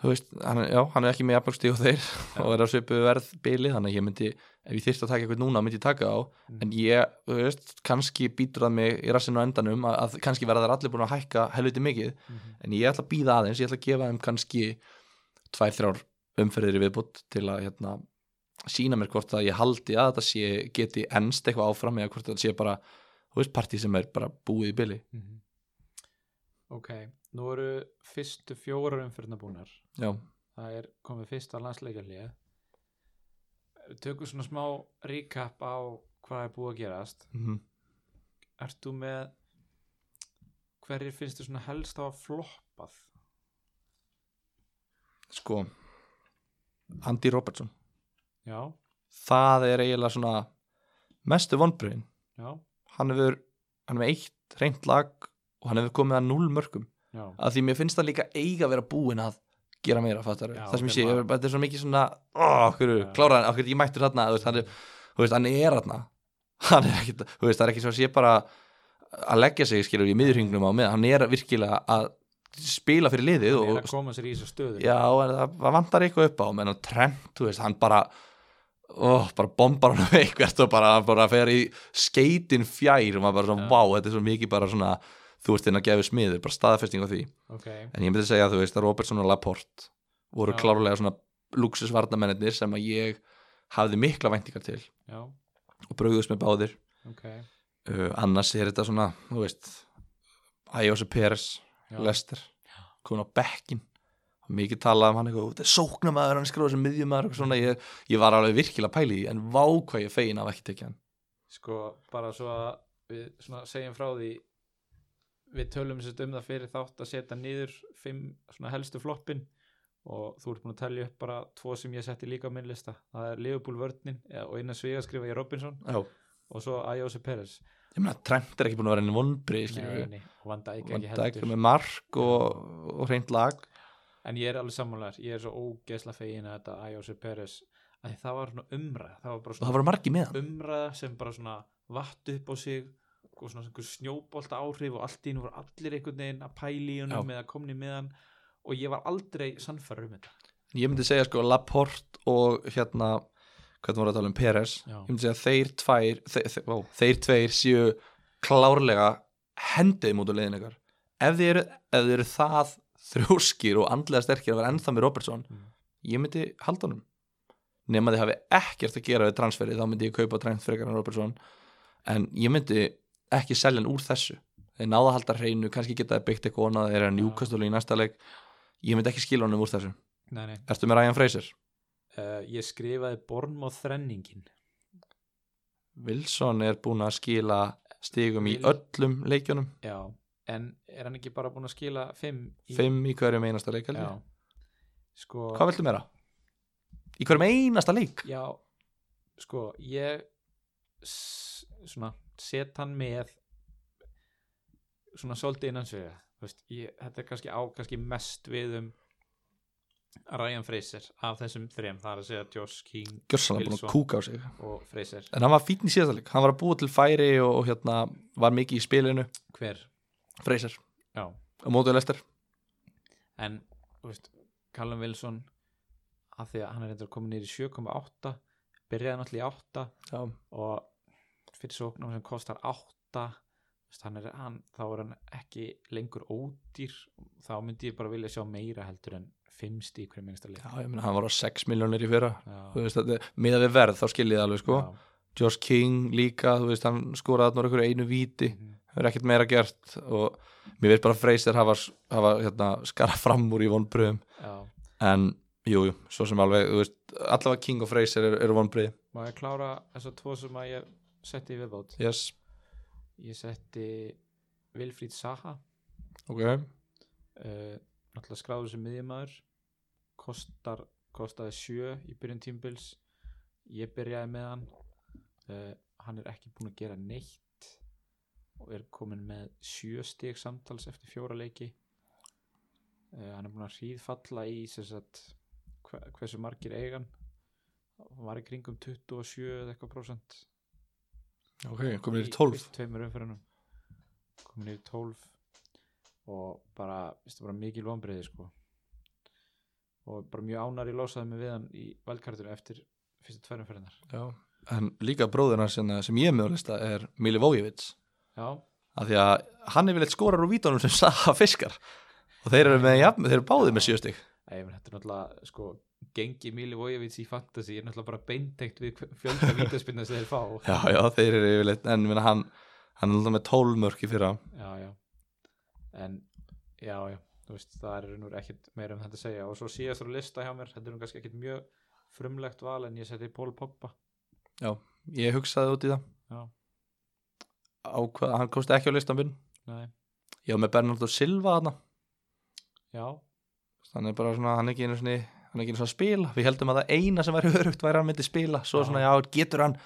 Speaker 1: þú veist, hann, er- já, hann er ekki með jafnvöxti og þeir og er á svipu verð bilið þannig að ég myndi, ef ég þyrst að taka eitthvað núna myndi ég taka á,
Speaker 2: Mhm.
Speaker 1: en ég, þú veist kannski býtur það mig í rassinu á endanum að, að kannski verða þar allir búin að hækka helviti mikið
Speaker 2: Mhm.
Speaker 1: en ég ætla að býða aðeins, ég ætla að gefa þeim kannski tvær, þrjár umferðir í viðbútt til að hérna, sína mér hvort að ég haldi að þetta sé geti ennst eitthvað áfram eða hvort þetta sé bara, þú veist, partí sem er bara búið í byli.
Speaker 2: Mhm. Ok, nú eru fyrstu fjórar umfyrirna búnar
Speaker 1: Já,
Speaker 2: það er komið fyrsta landsleikjarlið Við tökum svona smá recap á hvað er búið að gerast
Speaker 1: mhm.
Speaker 2: Ert þú með hverjir finnst þú svona helst á að floppað?
Speaker 1: sko Andy Robertson,
Speaker 2: Já,
Speaker 1: það er eiginlega svona mestu vonbröðin
Speaker 2: já,
Speaker 1: hann hefur, hann hefur eitt reynd lag og hann hefur komið að null mörgum
Speaker 2: já
Speaker 1: að því mér finnst það líka eiga að vera búin að gera meira, fattar
Speaker 2: Já,
Speaker 1: það sem ég
Speaker 2: ok,
Speaker 1: sé, ég,
Speaker 2: maður-
Speaker 1: þetta er svo mikið svona oh, okkur,
Speaker 2: Já.
Speaker 1: kláraðan, okkur ég mættur þarna þú veist, hann, er- þú veist, hann er þarna hann er ekkit, þú veist, það er ekki svo að sé bara að leggja sig, skilur, í miðurhingnum á með hann er virkilega að spila fyrir liðið
Speaker 2: Það er
Speaker 1: og,
Speaker 2: að koma sér í þessu stöðu
Speaker 1: já, en það, það vantar eitthvað upp á menn að trend, þú veist, hann bara ó, bara bombar hann eitthvað og bara, hann bara fer í skeitin fjær og maður bara svona,
Speaker 2: Já.
Speaker 1: vá, þetta er svo mikið bara svona, þú veist, inn að gefa smiður bara staðfesting á því
Speaker 2: Ok,
Speaker 1: En ég myndi segja að þú veist að Robertson og Laporte voru
Speaker 2: Já.
Speaker 1: klárlega svona luxusvarnamennir sem að ég hafði mikla væntingar til
Speaker 2: já,
Speaker 1: og bröðust með báðir.
Speaker 2: ok
Speaker 1: Uh, annars er þetta svona, þú veist, Ayosa Peres,
Speaker 2: Já.
Speaker 1: Lester, komin á bekkin og mikið talað um hann eitthvað, þetta er sóknamaður, hann skróður sem miðjumæður og svona, ég, ég var alveg virkilega pælið í því, en vá hvað ég fegin af ekki tekja hann.
Speaker 2: Sko, bara svo að við svona segjum frá því við tölum sér um það fyrir þátt að setja niður fimm svona helstu floppin og þú ert búin að telja upp bara tvo sem ég setti líka á minn lista það er Liverpool vörninn eh, og innan svega skrifa ég Robinson
Speaker 1: Já.
Speaker 2: og svo Ayosi Peres
Speaker 1: Ég meina, Trent er ekki búin að vera enn vonbrið, skiljum við.
Speaker 2: Nei, nei, og Van Dijk
Speaker 1: Van
Speaker 2: ekki
Speaker 1: Dijk
Speaker 2: heldur
Speaker 1: er með mark og, og hreint lag.
Speaker 2: en ég er alveg sammálaður, ég er svo ógeðsla fegin að þetta Ayosi Peres að það var svona umræð það var bara
Speaker 1: Og það
Speaker 2: svona
Speaker 1: voru margi með hann.
Speaker 2: umræða sem bara svona vatt upp á sig og svona einhver snjóbolta áhrif og allt í nú voru allir einhvern veginn að pæli í honum
Speaker 1: Já.
Speaker 2: eða komni með hann og ég var aldrei sannfæra um þetta
Speaker 1: ég myndi segja sko Laporte og hérna hvernig voru að tala um Peres
Speaker 2: Já.
Speaker 1: ég myndi segja þeir tvær þeir, þeir, ó, þeir tveir séu klárlega hendið mútu leiðin ykkar ef þið eru, ef þið eru það þrjóskir og andlega sterkir að vera ennþá með Robertson
Speaker 2: Mm.
Speaker 1: ég myndi halda honum nema þið hafi ekkert að gera við transferið þá myndi ég kaupa trend frekar en Robertson en ég myndi ekki selja hann úr þessu þeir náða að halda hreinu, kannski geta þeir byggt eitthvað annað, þeir eru að
Speaker 2: Já.
Speaker 1: njúkastólu í næsta leik ég myndi ekki skila honum úr þessu
Speaker 2: nei, nei.
Speaker 1: Ertu með Ryan Fraser?
Speaker 2: Uh, ég skrifaði Bornmoth þrenningin
Speaker 1: Wilson er búinn að skila stigum í
Speaker 2: Vil-
Speaker 1: öllum leikjunum
Speaker 2: já, en er hann ekki bara búin að skila 5
Speaker 1: Fimm í hverjum einasta leik held ég.
Speaker 2: já. sko
Speaker 1: Hvað viltu meira? Í hverjum einasta leik?
Speaker 2: já, sko ég s- svona set hann með svona svolítið innan svega veist, ég, þetta er kannski á kannski mest við um Ryan Fraser af þessum þrem, það er að segja Josh King
Speaker 1: Gjörsanlega búinn að
Speaker 2: Wilson.
Speaker 1: kúka á sig
Speaker 2: og Fraser
Speaker 1: En hann var fínn í síðasta leik, hann var að búa til færi og, og hérna var mikið í spilinu
Speaker 2: hver,
Speaker 1: Fraser
Speaker 2: já
Speaker 1: á mótið lestir
Speaker 2: en þú veist, Callum Wilson af því að hann er reyndar komin niður í 7,8 byrjaði náttúrulega í 8
Speaker 1: Já,
Speaker 2: og fyrir sóknum sem kostar 8 Þess, hann er, hann, þá er hann ekki lengur ódýr þá myndi ég bara vilja sjá meira heldur en fimm stík hverju minnsta leik
Speaker 1: Já, ég meina, hann var á 6 miljónir í fyrra
Speaker 2: Já,
Speaker 1: Þú veist, þetta er- miðað við verð, þá skiljið þið alveg sko
Speaker 2: já.
Speaker 1: Josh King líka, þú veist, hann skoraði þarna úr einhverju einu víti,
Speaker 2: Mhm.
Speaker 1: það er ekkert meira gert og mér veist bara freysir hafa, hafa hérna, skara fram úr í vonbröðum
Speaker 2: Já.
Speaker 1: en jú, jú, svo sem alveg, þú veist allavega King og Fraser eru, eru vonbröði
Speaker 2: Má ég klára þessar tvo sem að ég setti í viðbót?
Speaker 1: yes,
Speaker 2: Ég setti Vilfríð Saha,
Speaker 1: ok
Speaker 2: uh, náttúrulega skráður sem miðjumæður, kostar, kostaði sjö í byrjun tímbils, ég byrjaði með hann, uh, hann er ekki búin að gera neitt og er komin með sjö stig samtals eftir fjóra leiki. Uh, hann er búin að hríðfalla í sem sagt, hve- hversu margir eigan, hann var í kringum 27 eða eitthvað prósent.
Speaker 1: ok, komin í
Speaker 2: í
Speaker 1: 12
Speaker 2: fyrstu tveimur umferðunum komin yfir 12 og bara, veistu, bara mikil vonbreiði sko og bara mjög ánar í losaði mig við hann í valkartur eftir fyrstu tveir umferðunar
Speaker 1: já. en líka bróðina sem, sem ég er með á lista er Milivojevic
Speaker 2: já,
Speaker 1: af því að hann er vel eitt skorar úr vítunum sem Saha fiskar og þeir eru, með, jafn, þeir eru báðið með sjöstig
Speaker 2: Æ, ég menn þetta er náttúrulega sko gengi Mili Vojevits í fantasy er náttúrulega bara beintekt við hve- fjölda vítaspinna sem þeir fá
Speaker 1: já, já, þeir eru yfirleitt, en minna, hann hann er alltaf með 12 mörk í fyrra
Speaker 2: já, já en, já, já, þú veist það er nú ekkert meira um þetta að segja og svo síðast á lista hjá mér, þetta er nú kannski ekkert mjög frumlegt val en ég seti Pól Poppa
Speaker 1: ég hugsaði út í það
Speaker 2: Já.
Speaker 1: á hvað, hann komst ekki á listan minn
Speaker 2: nei,
Speaker 1: ég var með Bernardo Silva þarna
Speaker 2: já,
Speaker 1: hann er bara svona, hann er ekki einu svona hann er ekki einu svona að spila, við heldum að það eina sem væri örugt væri að hann myndi spila, svo
Speaker 2: Já.
Speaker 1: svona já, getur hann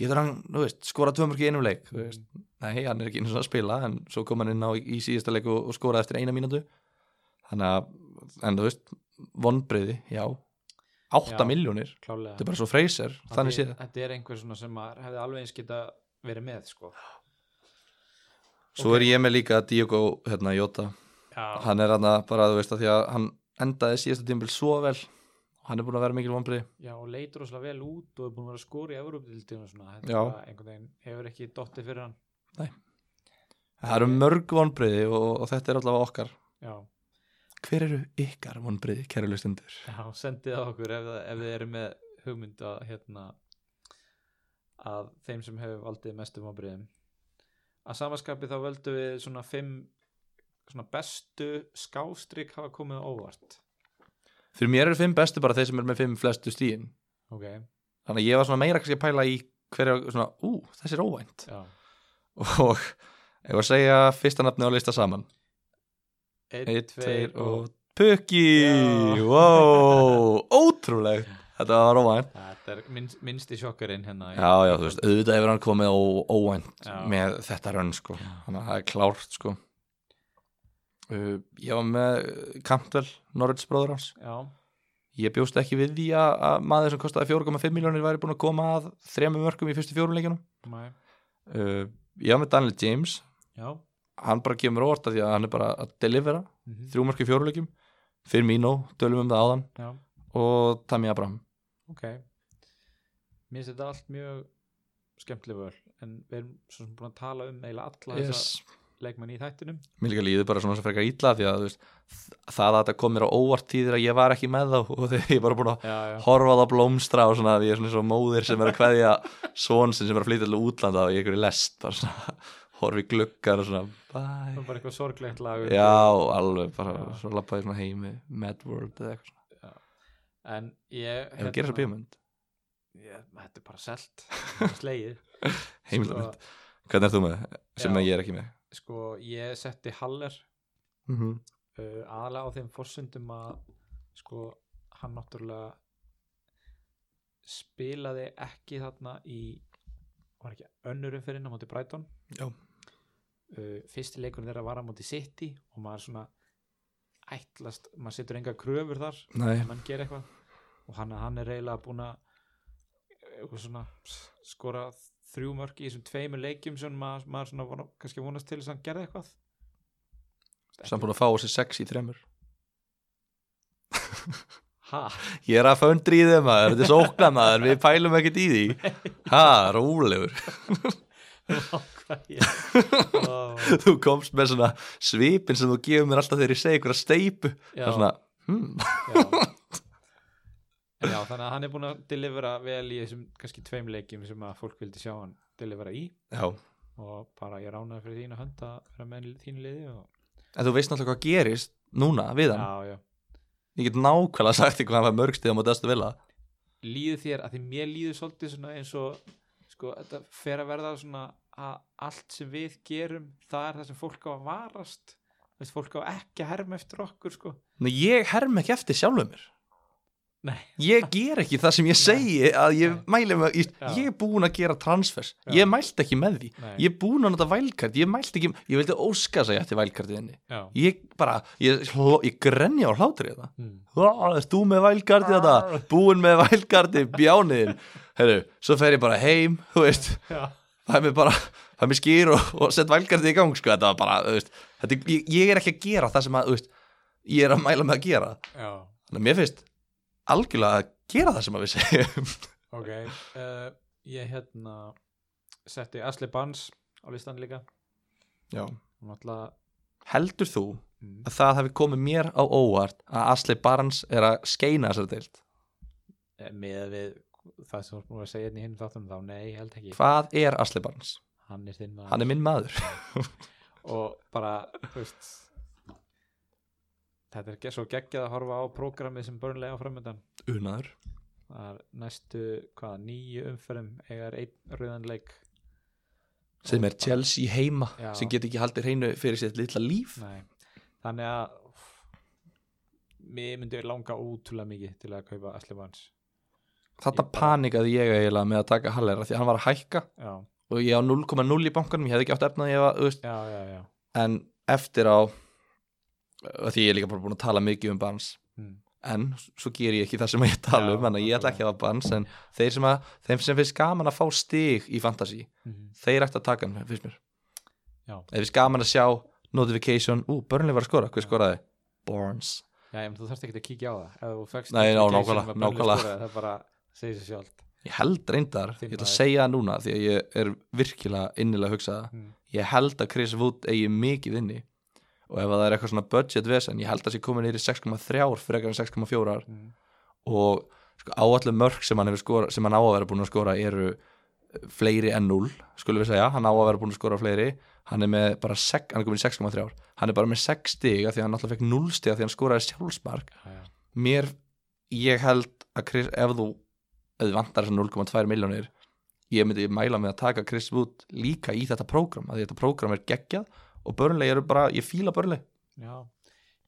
Speaker 1: getur hann, þú veist, skora tvö mörk í einum leik,
Speaker 2: Mm,
Speaker 1: þú veist, nei, hann er ekki einu svona að spila en svo kom hann inn á í, í síðasta leik og, og skoraði eftir eina mínútu þannig að, en þú veist, vonbreiði já,
Speaker 2: Já.
Speaker 1: 8 miljónir
Speaker 2: klálega
Speaker 1: þetta er bara svo freyser, þannig
Speaker 2: Þetta
Speaker 1: séð
Speaker 2: er- Þetta er einhver svona sem maður hefði alveg eins geta verið með sko
Speaker 1: svo er ég með líka Diogo, hérna, Jota
Speaker 2: Já,
Speaker 1: hann er hann bara, þú veist, að því að hann endaði síðasta tímbil svo vel hann er búin að vera mikil vonbreiði
Speaker 2: já og leitur óslega vel út og er búin að vera skóri í Evrópildinu og svona Þetta
Speaker 1: Já.
Speaker 2: er bara einhvern veginn hefur ekki dottið fyrir hann
Speaker 1: Það eru mörg vonbreiði og, og þetta er allavega okkar.
Speaker 2: Já,
Speaker 1: Hver eru ykkar vonbreiði, kæru lustendur?
Speaker 2: já sendið það okkur ef, það- ef þið eru með hugmynd að hérna að þeim sem hefur valdið mestum ábriðum að samaskapi þá völdum við svona fimm svona bestu skástrík hafa komið á óvart
Speaker 1: Fyrir mér eru fimm bestu bara þeir sem eru með fimm flestu stíðin.
Speaker 2: Ok,
Speaker 1: Þannig að ég var svona meira kannski að pæla í hverja, svona, ú, þessi er óvænt.
Speaker 2: já
Speaker 1: Og ef að segja fyrsta nafni á lista saman.
Speaker 2: Einn,
Speaker 1: Eitt, tveir og
Speaker 2: og-
Speaker 1: Pukki!
Speaker 2: Já.
Speaker 1: Wow! Ótrúlegt! Þetta var óvænt.
Speaker 2: Þetta er minnst, minnsti sjokkarinn hérna í-
Speaker 1: Já, já, þú veist, auðvitað hefur hann komið ó, óvænt
Speaker 2: Já.
Speaker 1: með þetta rönn, sko. Þannig að það er klárt, sko. Uh, ég var með uh, Campbell, Norrölds bróður hans.
Speaker 2: Já,
Speaker 1: ég bjóst ekki við því að, að maður sem kostaði 4,5 miljónir væri búin að koma að þremur mörgum í fyrstu fjórum leikjunum
Speaker 2: mæ,
Speaker 1: uh, ég var með Daniel James
Speaker 2: já
Speaker 1: hann bara kemur óvart að því að hann er bara að delivera
Speaker 2: mhm,
Speaker 1: þrjú mörg í fjórum leikjum fyrir Mino, tölum um það áðan
Speaker 2: Já,
Speaker 1: og Tammy Abraham
Speaker 2: ok Mér finnst þetta allt mjög skemmtileg völ en við erum svo sem búin að tala um eiginlega alla
Speaker 1: yes.
Speaker 2: þessa leikmenn í þættinum
Speaker 1: mér líka líður bara svona sem frekar ítla því að þú veist, það að þetta kom mér á óvart tíðir að ég var ekki með þá og þegar ég bara búin að
Speaker 2: Já, já,
Speaker 1: horfa á það blómstra og svona, ég er svona svo móðir sem er að kveðja són sinn sem er að flytja til útlanda og ég er í lest, bara svona horfi gluggar og svona, bye
Speaker 2: það var bara eitthvað sorglegt lag um
Speaker 1: Já, alveg, bara
Speaker 2: Já.
Speaker 1: svo lappaði svona heimi Mad World eða eitthvað svona
Speaker 2: þetta. En ég hérna,
Speaker 1: Ef það gerir svo bíómynd,
Speaker 2: ég- Þetta er bara selt bara Slegið
Speaker 1: heimildamynd Hvernig er þú með, það? sem
Speaker 2: Já.
Speaker 1: ég er ekki með
Speaker 2: Sko, ég setti Haller
Speaker 1: mm -hmm.
Speaker 2: uh, aðalega á þeim forsöndum að sko, hann náttúrulega spilaði ekki þarna í var ekki önnurum fyrir á móti Brighton
Speaker 1: Já.
Speaker 2: uh, fyrsti leikurinn þeirra var á móti City og maður svona ætlast, maður setur enga kröfur þar
Speaker 1: Nei,
Speaker 2: ef mann gera eitthvað og hann, hann er eiginlega búin að eh, eitthvað svona, s- skora þrjú mörg í þessum tveimur leikjum sem maður, maður svona vona, kannski vonast til þess að hann gerði eitthvað
Speaker 1: samt búin að fá þessi sex í þremur
Speaker 2: Ha?
Speaker 1: Ég er að föndri í þeim maður, þetta er sókna maður Við pælum ekkert í því Ha, rólegur
Speaker 2: já,
Speaker 1: þú komst með svona svipin sem þú gefur mér alltaf þegar ég segi ykkur að steipu það er svona, hmm,
Speaker 2: já. En já, þannig að hann er búin að delivera vel í þessum kannski tveim leikjum sem að fólk vildi sjá hann delivera í
Speaker 1: já
Speaker 2: og bara ég ránaði fyrir þína hönd að vera með í þínu liði og
Speaker 1: en þú veist náttúrulega hvað gerist núna við hann
Speaker 2: já, já.
Speaker 1: ég get nákvæmlega sagt ykkur hann var mörgstíð á móti aðstu vilja
Speaker 2: líður þér að því mér líður svolítið svona eins og sko, þetta fer að verða svona að allt sem við gerum það er það sem fólk á að varast Þú veist, fólk á ekki að herma eftir okkur sko.
Speaker 1: en ég herm ekki eftir sjálfum mér
Speaker 2: Nei.
Speaker 1: ég ger ekki það sem ég
Speaker 2: Nei.
Speaker 1: segi að ég
Speaker 2: Nei.
Speaker 1: mæli með ég,
Speaker 2: Já.
Speaker 1: ég er búin að gera transfers
Speaker 2: Já.
Speaker 1: ég mælt ekki með því
Speaker 2: Nei,
Speaker 1: ég er búin að nota vælkart, ég mælt ekki ég vildi óska þess að ég ætti vælkartið henni
Speaker 2: já,
Speaker 1: ég bara, ég, hló- ég grenja á hlátri þetta
Speaker 2: mm,
Speaker 1: Erst þú með vælgardi þetta? Búinn með vælgardi, bjániðin Herru, svo fer ég bara heim Þú veist,
Speaker 2: já,
Speaker 1: það er mér bara Það er mér skýr og, og sett vælgardi í gang sko, Þetta var bara, þú veist þetta, er- ég, ég er ekki að gera það sem að, þú veist Ég er að mæla með að gera
Speaker 2: já,
Speaker 1: Þannig að mér finnst algjörlega að gera það sem að við segjum
Speaker 2: ok uh, ég hérna setti Asli Bans á listan líka
Speaker 1: Já.
Speaker 2: hún alltaf
Speaker 1: Heldur þú
Speaker 2: mm,
Speaker 1: að það hafi komið mér á óvart Að Asli Barnes er að skeina þessar deilt
Speaker 2: með Eh, við það sem þú ert búin að segja hérna í hinn þáttunum þá nei, ég held ekki
Speaker 1: Hvað er Asli Barnes?
Speaker 2: hann er þinn maður
Speaker 1: Hann er minn maður
Speaker 2: og bara þú veist, þetta er ge- svo geggjað að horfa á prógramið sem Burnley á framöndan
Speaker 1: Unaður
Speaker 2: það er næstu hvaða nýju umferðum egar einn rauðan leik
Speaker 1: sem er Chelsea heima
Speaker 2: Já.
Speaker 1: sem get ekki haldið hreinu fyrir sitt litla líf
Speaker 2: Nei. þannig að úff, mér myndi langa útrúlega mikið til að kaupa Asli Vans
Speaker 1: þarna
Speaker 2: Ég bara-
Speaker 1: panikaði ég eiginlega með að taka Hallera því að hann var að hækka
Speaker 2: já,
Speaker 1: og ég á 0,0 í bankanum, ég hefði ekki átt efnað ég var, þú veist,
Speaker 2: já, já, já
Speaker 1: en eftir á af því ég er líka bara búin að tala mikið um bans
Speaker 2: mm.
Speaker 1: en svo ger ég ekki það sem ég tala
Speaker 2: Já,
Speaker 1: um þannig að ég ætla ekki að hafa bans en þeir sem, að, þeim sem finnst gaman að fá stig í fantasy
Speaker 2: Mhm.
Speaker 1: þeir ætti að taka hann, finnst mér
Speaker 2: Já.
Speaker 1: ef finnst gaman að sjá notification, ú, Burnley var að skora, hver skoraði? Barnes
Speaker 2: já, ég menn þú þarft ekki að kíkja á það ef þú fékkst
Speaker 1: Nei, já,
Speaker 2: notification
Speaker 1: nákvæmlega,
Speaker 2: um að Burnley
Speaker 1: nákvæmlega.
Speaker 2: skoraði, það bara segir sér sjálft
Speaker 1: Ég held reyndar,
Speaker 2: Þinn
Speaker 1: ég ætla að
Speaker 2: maður.
Speaker 1: segja það núna því að ég er virkilega innilega að hugsa það
Speaker 2: Mm.
Speaker 1: ég held að Chris Wood eigi mikið inni og ef það er eitthvað svona budget vesen ég held að sé komin yfir í 6,3 frekar en 6,4
Speaker 2: mm.
Speaker 1: og sko, áallu mörg sem hann, hefur skora, sem hann á að vera búin að skora eru eh, fleiri en 0 skulum við segja, hann á að vera búin að skora fleiri hann er með bara 6, hann er komin í 6,3 hann er bara með 6 stiga því að hann alltaf fekk 0 stiga því að hann skoraði sjálfsmark
Speaker 2: já, já.
Speaker 1: mér, ég held að Chris, ef þú, ef þú vantar þessar 0,2 miljónir ég myndi mæla með að taka Chris Wood líka í þetta prógram, að þetta prógram er geggjað og börnlega eru bara, ég fíla börnlega
Speaker 2: Já,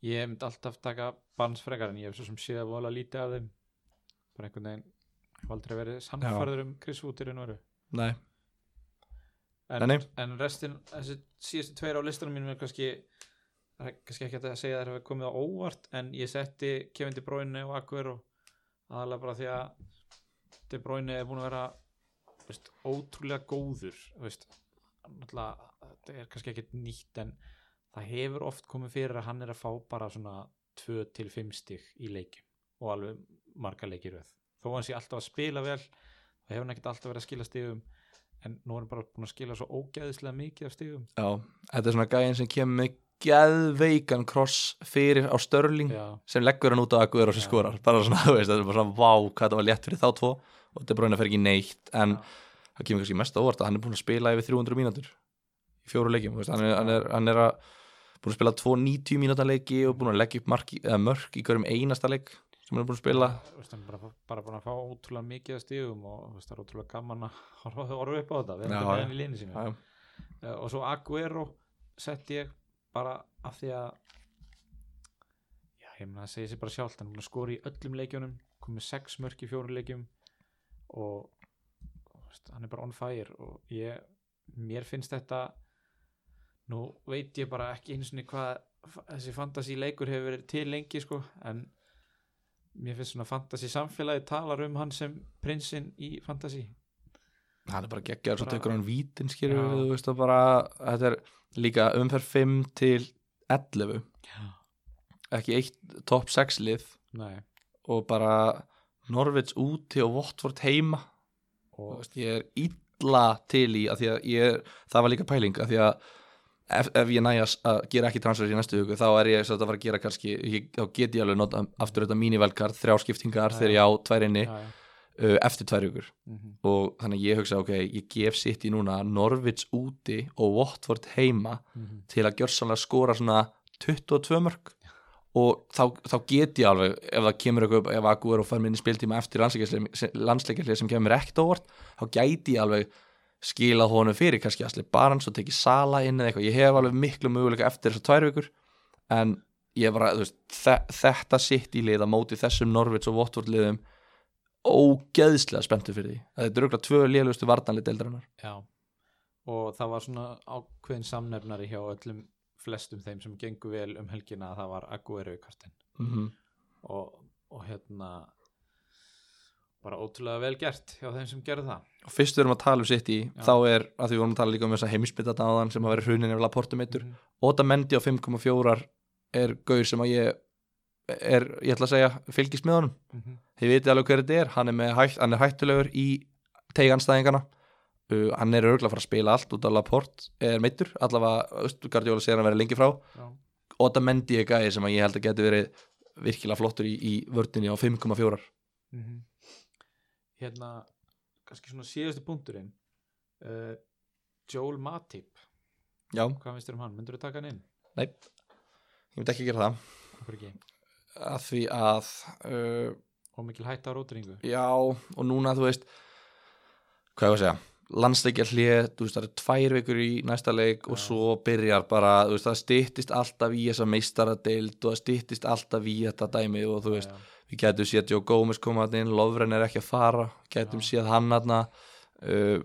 Speaker 2: ég myndi alltaf taka bans frekar en ég hef svo sem séð að vola lítið af þeim bara einhvern veginn hef aldrei verið samfarður um Chris Wood í raun og veru.
Speaker 1: Nei,
Speaker 2: en,
Speaker 1: Nei, nei.
Speaker 2: en restin, þessi síðustu tveir á listanum mínum er kannski það er kannski ekki hægt að segja að það hefur komið á óvart en ég setti Kevin De Bruyne og Aguero aðalega bara því að De Bruyne er búin að vera þú veist, ótrúlega góður þú veist, náttúrulega þetta er kannski ekkert nýtt en það hefur oft komið fyrir að hann er að fá bara svona 2 til 5 stig í leikim og alveg marga leikir við þó hann sé alltaf að spila vel það hefur hann ekkert alltaf verið að skila stigum en nú er hann bara búin að skila svo ógæðislega mikið af stigum
Speaker 1: já, þetta er svona gæðin sem kemur með geðveikan kross fyrir á Störling
Speaker 2: já,
Speaker 1: sem leggur hann út á Aguero sem
Speaker 2: Já.
Speaker 1: skorar bara svona, þú veist, þetta er bara svona, vá, hvað þetta var létt fyrir þá tvo og þetta er bráin að fer ekki neitt en
Speaker 2: Já.
Speaker 1: það kemur kannski mest á óvart að hann er búin að spila yfir 300 mínútur í fjóru leikjum, þú veist, hann er, hann er, hann er að búin að spila tvo 90 mínúta leiki og búin að leggja upp marki, eða mörk í hverjum einasta leik sem hann er búin að spila
Speaker 2: Þú veist, hann er bara, bara búin að fá ótrúlega mikið af stigum og þú veist, það er ótrúlega gaman að horfa, horfa upp á þetta við
Speaker 1: Já,
Speaker 2: erum með
Speaker 1: já.
Speaker 2: hann í línu sínu
Speaker 1: Já, já.
Speaker 2: Eh, og svo Aguero setti ég bara af því að já, ég meina að segja sér bara sjálft hann er búinn að skora í öllum leikjunum komið sex mörk í fjórum leikjum og þú veist, hann er bara on fire og ég, mér finnst þetta nú veit ég bara ekki eins og hvað fa- þessi fantasy leikur hefur verið til lengi sko, en mér finnst svona fantasy samfélagi talar um hann sem prinsinn í fantasy
Speaker 1: hann er bara geggjaður svo
Speaker 2: Bara-
Speaker 1: tekur hann vítin skilur
Speaker 2: Já.
Speaker 1: við, þú veist, og bara þetta er líka umferð 5 til 11
Speaker 2: Já.
Speaker 1: ekki eitt top 6 lið
Speaker 2: Nei,
Speaker 1: og bara Norvits úti og Votford heima
Speaker 2: og
Speaker 1: Þú veist, ég er illa til í að því að ég, það var líka pæling að því að ef, ef ég næja að gera ekki transfer í næstu hugu þá er ég satt að fara að gera kannski ég, þá get ég alveg nota aftur þetta mínivelkar þrjáskiptingar
Speaker 2: Já,
Speaker 1: þegar ég á tværinni
Speaker 2: já, já.
Speaker 1: uh, eftir tvær hugur
Speaker 2: Mhm.
Speaker 1: og þannig að ég hugsa ok, ég gef sitt í núna Norvits úti og Watford heima
Speaker 2: Mhm.
Speaker 1: til að gjörsanlega skora svona 22 mörg og þá, þá get ég alveg ef það kemur eitthvað upp, ef Agu er og fær minni spiltíma eftir landsleikislega sem kemur mér ekkert á óvart, þá gæti ég alveg skilað honum fyrir, kannski Asli Barans og tekið Sala inn eða eitthvað, ég hef alveg miklu möguleika eftir þessar tvær vikur en ég bara, þú veist, þe þetta sitt í liða móti þessum Norvits og Votvort liðum ógeðslega spenntu fyrir því, að þetta er auðvitað tvö liðlustu vartanlið deildarinnar
Speaker 2: já og það var svona ákveðin samnefnari hjá öllum flestum þeim sem gengu vel um helgina að það var Aguero í kartin
Speaker 1: mm
Speaker 2: og, og hérna bara ótrúlega vel gert hjá þeim sem gerðu það
Speaker 1: og fyrst við erum að tala um sitt í
Speaker 2: Já.
Speaker 1: þá er, að því við vorum að tala líka um þessa heimsbyttadáðan sem að vera hrunin ef laportum eittur
Speaker 2: Mhm.
Speaker 1: Óta Mendi á 5,4 er gaur sem að ég er, ég ætla að segja, fylgist með honum
Speaker 2: Mhm.
Speaker 1: þið viti alveg hver þetta er, hann er, með hætt, hann er hættulegur í teiganstæðingana uh, hann er örgulega að fara að spila allt út af Laport er meittur, allavega Östugardjóla sér hann vera lengi frá
Speaker 2: Já.
Speaker 1: Óta Mendi er gæði sem að ég held að geti verið virkilega flottur í, í vördinni á 5,4 Mhm.
Speaker 2: -hmm. hérna kannski svona síðustu punkturinn uh, Joel Matip
Speaker 1: já,
Speaker 2: hvað finnst þér um hann, myndur þú taka hann inn?
Speaker 1: nei ég myndi ekki gera það
Speaker 2: okkur ekki,
Speaker 1: að því að uh,
Speaker 2: og mikil hætta á rótringu
Speaker 1: já, og núna þú veist hvað ég var að segja landsleikja hlið, þú veist það eru tvær vikur í næsta leik og
Speaker 2: Já.
Speaker 1: svo byrjar bara, þú veist það styttist alltaf í þessa meistaradeild og það styttist alltaf í þetta dæmi og þú veist,
Speaker 2: já,
Speaker 1: við getum séð Jó Gómez koma hann inn, Lovren er ekki að fara getum
Speaker 2: Já.
Speaker 1: séð hann hann uh,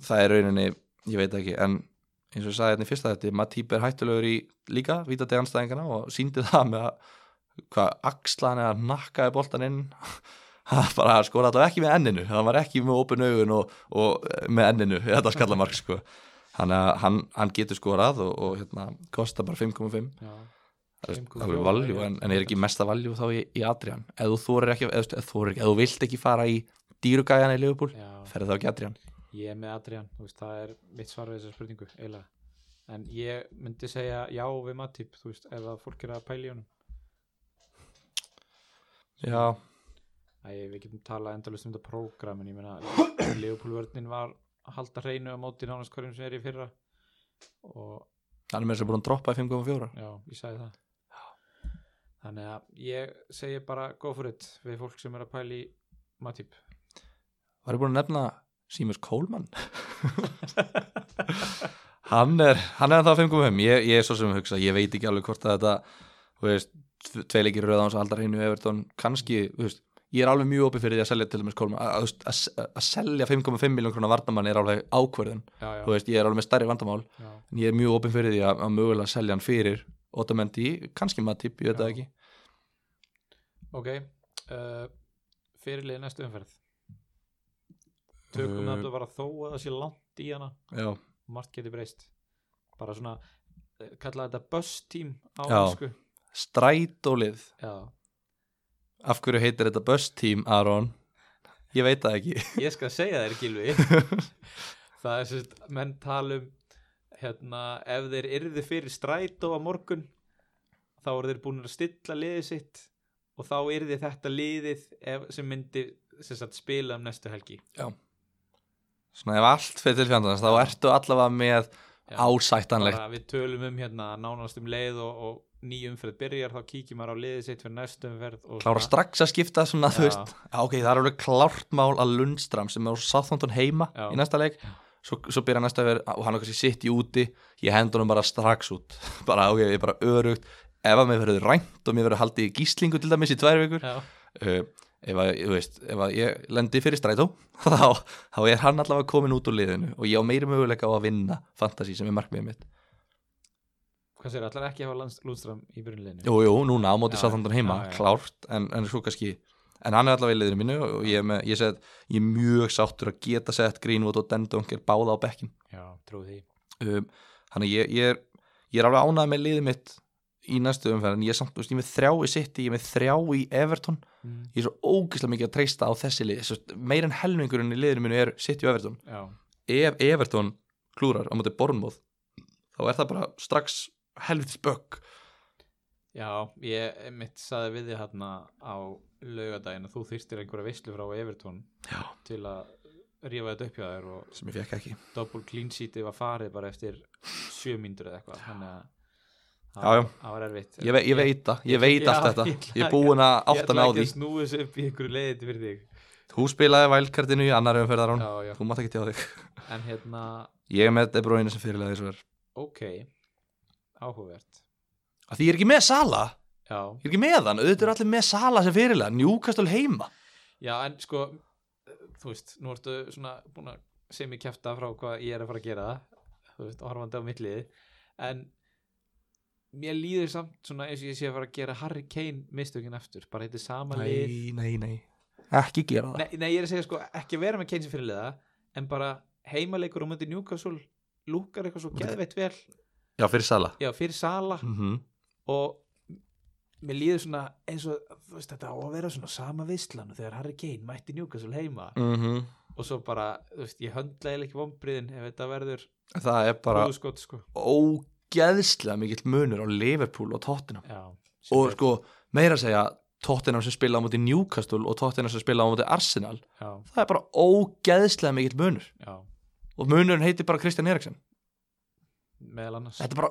Speaker 1: það er rauninni, ég veit ekki en eins og ég sagði hérna í fyrsta þetta Matip er hættulegur í líka vítateg anstæðingana og síndi það með að hvað axlan eða nakkaði boltan inn hann bara skora allavega ekki með enninu hann var ekki með opin augun og, og eh, með enninu, þetta skallamark sko hann, hann, hann getur skorað og, og hérna, kostar bara 5,5
Speaker 2: já,
Speaker 1: Það er
Speaker 2: 5,4
Speaker 1: alveg valjú, en, en er ekki mesta valjú þá í, í Adrian, ef þú þorir ekki ef, þú- ef, þú, ef þú vilt ekki fara í dýrugæjan í Liverpool,
Speaker 2: já.
Speaker 1: ferð þá ekki í Adrian
Speaker 2: ég er með Adrian, þú veist, það er mitt svar við þessa spurningu, eiginlega en ég myndi segja já við Matip þú veist, ef að fólk er að pæla í honum
Speaker 1: Já,
Speaker 2: Æ, við getum talað endalust um þetta prógram en ég meina Leopoldvörnin var að halda hreinu á móti nánast hverjum sem er í fyrra og
Speaker 1: hann er með þess að búin að droppa í 5,4
Speaker 2: Já, ég sagði það Þannig að ég segi bara go for it við fólk sem er að pæla í Matip
Speaker 1: Var ég búin að nefna Seamus Coleman Hann er, hann er þá 5,5 ég, ég er svo sem hugsa, ég veit ekki alveg hvort að þetta þú veist, tvei leikir röða hans að halda hreinu Everton, kannski, þú veist ég er alveg mjög opið fyrir því að selja til dæmis Coleman að, að, að, að selja 5,5 miljón krónar vardamann er alveg ákverðin,
Speaker 2: Já, já,
Speaker 1: þú veist, ég er alveg með stærri vandamál
Speaker 2: já,
Speaker 1: en ég er mjög opinn fyrir því að, að mögulega selja hann fyrir Otamendi, kannski Matip, ég veit það
Speaker 2: Já.
Speaker 1: ekki
Speaker 2: ok uh, Fyrirlið í næstu umferð Tökum
Speaker 1: Uh,
Speaker 2: uh, þetta bara þó að það sé langt í hana
Speaker 1: já,
Speaker 2: margt geti breyst bara svona, eh, kalla þetta bus team á
Speaker 1: Já.
Speaker 2: einsku
Speaker 1: strætólið
Speaker 2: Já,
Speaker 1: af hverju heitir þetta Bust Team, Aron ég veit það ekki
Speaker 2: ég skal segja þér Gilvi það er sérst, menn tala um hérna, ef þeir yrðu fyrir strætó á morgun þá eru þeir búin að stilla liðið sitt og þá yrði þetta liðið ef, sem myndi sem sagt, spila um næstu helgi
Speaker 1: svona ef allt fyrir tilfjöndans, þá ertu allavega með
Speaker 2: Já.
Speaker 1: ásættanlegt
Speaker 2: bara við tölum um hérna nánast um leið og, og nýjumferð byrjar þá kíkir maður á liðið sitt fyrir næstu umferð og
Speaker 1: klára
Speaker 2: svona-
Speaker 1: strax að skipta svona, þú
Speaker 2: Já.
Speaker 1: veist, já, ok, það er alveg klárt mál að Lundstram sem er úr Southampton heima
Speaker 2: Já.
Speaker 1: í næsta leik, svo, svo byrja næsta verið og hann okkar sér sitt í úti, ég hendur hann bara strax út, bara ok, ég er bara örugt ef að mér verður rænt og mér verður haldið í gíslingu til dæmis í tvær vikur
Speaker 2: Já,
Speaker 1: uh, ef, að, þú veist, ef að ég lendi fyrir strætó þá, þá er hann allavega komin út úr liðinu og ég á meiri möguleika á að vinna fantasy sem er markmiðið mitt
Speaker 2: hvað sér, allar ekki að hafa Lundström í byrjunleginu
Speaker 1: Jú, jú, núna á móti
Speaker 2: Já,
Speaker 1: sáþandur heima,
Speaker 2: já, já.
Speaker 1: klárt en, en svo kannski, en hann er allavega í liðinu mínu og ég er, með, ég, set, ég er mjög sáttur að geta sett Greenwood og Dendonger báða á bekkin
Speaker 2: Já, trú því
Speaker 1: um, þannig að ég, ég, er, ég er alveg ánægð með liðið mitt í næstu umferð en ég er samt, þú veist, ég er með þrjá í City, ég er með þrjá í Everton
Speaker 2: mm.
Speaker 1: ég er svo ógeðslega mikið að treysta á þessi lið Svo meira en helmingurinn í liðinu mínu er City og Everton
Speaker 2: Já,
Speaker 1: ef Everton klúrar á móti Bornmóð þá er það bara strax helvitis bögg
Speaker 2: Já, ég mitt saði við þig hérna á laugardaginn að þú þýrstir einhverja veislu frá Evertón
Speaker 1: Já.
Speaker 2: til að rífa þetta upp hjá þér og
Speaker 1: sem ég fekk ekki
Speaker 2: double clean sheeti var farið bara eftir sjö mínútur eða eitthvað þannig að
Speaker 1: Já, já.
Speaker 2: það- það var erfitt
Speaker 1: ég, ve ég veit það, ég veit
Speaker 2: Já,
Speaker 1: allt þetta
Speaker 2: ég ætla-
Speaker 1: ég er búin að
Speaker 2: Ég
Speaker 1: áttan á
Speaker 2: ætla
Speaker 1: því
Speaker 2: ekki að snúi þessu upp í einhverju leiðið fyrir þig
Speaker 1: þú spilaði vælkartinu í annar umferðar án
Speaker 2: já, já.
Speaker 1: þú mátt ekki tjá þig
Speaker 2: en hérna,
Speaker 1: ég er með De Bruyne sem fyrirlega þessu verð
Speaker 2: ok áhugavert
Speaker 1: að því ég er ekki með Sala,
Speaker 2: já,
Speaker 1: ég er ekki með hann auðvitað er allir með Sala sem fyrirlega, Newcastle heima
Speaker 2: já, en sko þú veist, nú ertu svona búin að sem ég kæfta frá hvað ég er að fara að gera þú veist, og horfandi á millið en mér líður samt svona eins og ég sé að fara að gera Harry Kane mistökin eftir, bara þetta er sama lið
Speaker 1: nei, nei, nei, ekki gera það
Speaker 2: nei, nei, ég er að segja sko ekki vera með Keynes fyrir liða en bara heimaleikur á möndi Newcastle lúkar eitthvað svo geðveitt vel
Speaker 1: já, fyrir Sala
Speaker 2: já, fyrir Sala
Speaker 1: mm
Speaker 2: og mér líður svona eins og þú veist, þetta á að vera svona sama vislan þegar Harry Kane mætti Newcastle heima
Speaker 1: Mm. Mhm.
Speaker 2: og svo bara, þú veist, ég höndla eiginlega ekki vombriðin ef þetta verður
Speaker 1: það er bara
Speaker 2: húðskot sko
Speaker 1: ógeðslega mikill munur á Liverpool og Tottenham
Speaker 2: já,
Speaker 1: og
Speaker 2: sem
Speaker 1: sko meira að segja Tottenham sem spila á móti Newcastle og Tottenham sem spila á móti Arsenal
Speaker 2: er- já,
Speaker 1: það er bara ógeðslega mikill munur
Speaker 2: já,
Speaker 1: og munurinn heitir bara Kristján Eriksson
Speaker 2: meðal annars
Speaker 1: þetta er bara,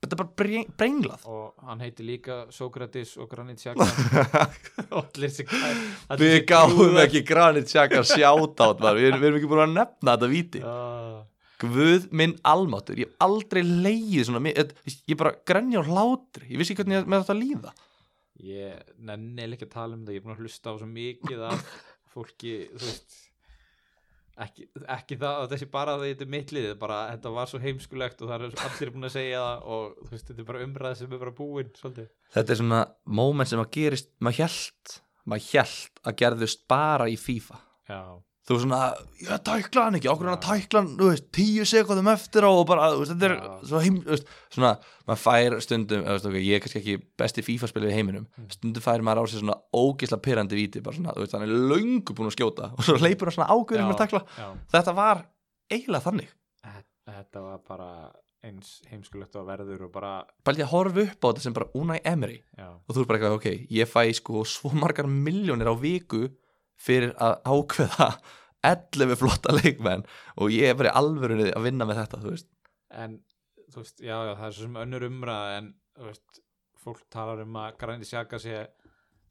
Speaker 1: þetta er bara breng- brenglað
Speaker 2: og hann heiti líka Sókratis og Granit Xhaka og allir sem
Speaker 1: við gáum ekki Granit Xhaka sjátátt við, erum- við erum ekki búin að nefna þetta víti
Speaker 2: já
Speaker 1: Guð minn almáttur, ég hef aldrei leið svona, mi- þetta- ég bara grenja á hlátri, ég vissi ekki hvernig ég með þetta að líða
Speaker 2: ég nenni eiginlega ekki að tala um þetta ég er búin að hlusta á svo mikið af fólki þú veist ekki, ekki það að þessi bara að þetta er mittlið bara þetta var svo heimskulegt og það er allir búin að segja það og þú veist þetta er bara umræð sem er bara búin svolítið
Speaker 1: Þetta er svona moment sem að gerist, maður hjælt, maður hjælt að gerðust bara í FIFA.
Speaker 2: já,
Speaker 1: Þú veist svona, ég tækla hann ekki, okkur hann að tækla hann, þú veist, tíu sekundum eftir á og bara, þú veist, þetta er
Speaker 2: Já.
Speaker 1: svo heim, þú veist, svona, maður fær stundum, þú veist, ok, ég er kannski ekki besti FIFA-spilið í heiminum,
Speaker 2: Mm.
Speaker 1: stundum fær maður á sig svona ógisla pyrrandi víti, bara svona, þú veist, hann er löngu búin að skjóta og svo leipur hann svona águrinn með að tækla.
Speaker 2: já,
Speaker 1: Þetta var eiginlega þannig.
Speaker 2: Þe- þetta var bara eins heimskulegt og verður og bara
Speaker 1: Bæli að horfa upp á þetta sem bara Unai Emery.
Speaker 2: já,
Speaker 1: og þú er bara eitthvað, ok, ég fæ sko svo margar miljónir á viku fyrir að ákveða 11 flotta leikmenn og ég er bara í alvörunni að vinna með þetta, þú veist
Speaker 2: en þú veist, já, já, það er svo sem önnur umræða en þú veist, fólk talar um að Grandi Sjaka sé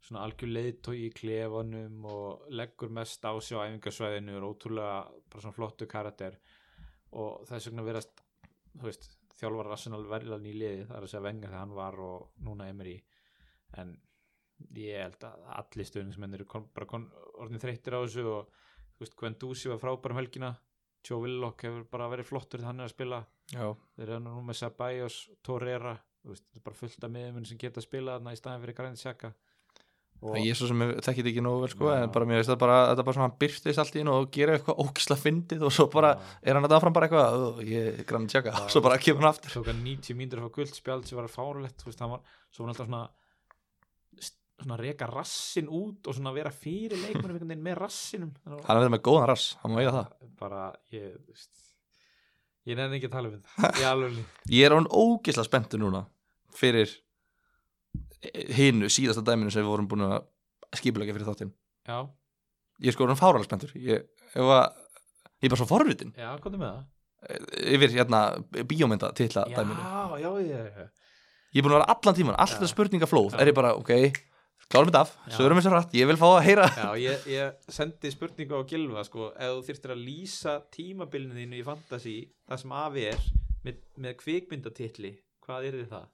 Speaker 2: svona algjör leiðtói í klefanum og leggur mest á sig á æfingasvæðinu og er ótrúlega bara svona flottu karakter og þess vegna verðast þú veist, þjálfar Arsenal verðlan í liði það er að segja venga þegar hann var og núna Emery en ég held að allir stöðningsmenn eru kon, bara kon, orðin þreyttir á þessu og þú veist, Gwendúsi var frábær um helgina Joe Willock hefur bara verið flottur þegar hann er að spila
Speaker 1: Já,
Speaker 2: þeir eru nú með Sabajos, Torreira þú veist, þetta er bara fullt af miðumun sem geta að spila þarna í staðin fyrir Granit Xhaka og
Speaker 1: ég er svo sem þekkit ekki nógu vel sko,
Speaker 2: Já.
Speaker 1: en bara mér veist það bara, þetta er bara svona hann byrstist allt í hennu og gera eitthvað ókisla fyndið og svo bara er hann að það fram bara eitthvað, "Ú, ég er grann að tjaka
Speaker 2: Já.
Speaker 1: og svo bara kemur hann aftur.
Speaker 2: tók hann 90 mínútur af guld spjald sem var fárulegt þú veist, hann var, svo var hann alltaf svona st- svona reka rassin út og svona vera fyrir leikmennum einhvern veginn með rassinum Þannig að-
Speaker 1: Hann er verið með góðan rass, hann má eiga það.
Speaker 2: bara ég þú veist, ég nefn ekki að tala um þetta ég alveg
Speaker 1: Ég er án ógisla spenntu núna fyrir hinu síðasta dæminu sem við vorum búin að skipulega fyrir þáttinn.
Speaker 2: já,
Speaker 1: ég er sko orðin fáralega spenntur ég, ef að, ég er bara svo forvitin
Speaker 2: já, komdu með það
Speaker 1: yfir hérna bíómynda titla
Speaker 2: já,
Speaker 1: dæminu
Speaker 2: já, já, já,
Speaker 1: ég er búin að vera allan tíman, alltaf
Speaker 2: Já.
Speaker 1: spurningaflóð
Speaker 2: Já.
Speaker 1: er ég bara, ok, klárum þetta af
Speaker 2: Já.
Speaker 1: svo erum við svo rætt, ég vil fá að heyra
Speaker 2: Já, ég, ég sendi spurningu á Gilva sko, ef þú þyrftir að lýsa tímabilinu þínu í Fantasí það sem afi er með, með kvikmyndatitli hvað er þið það?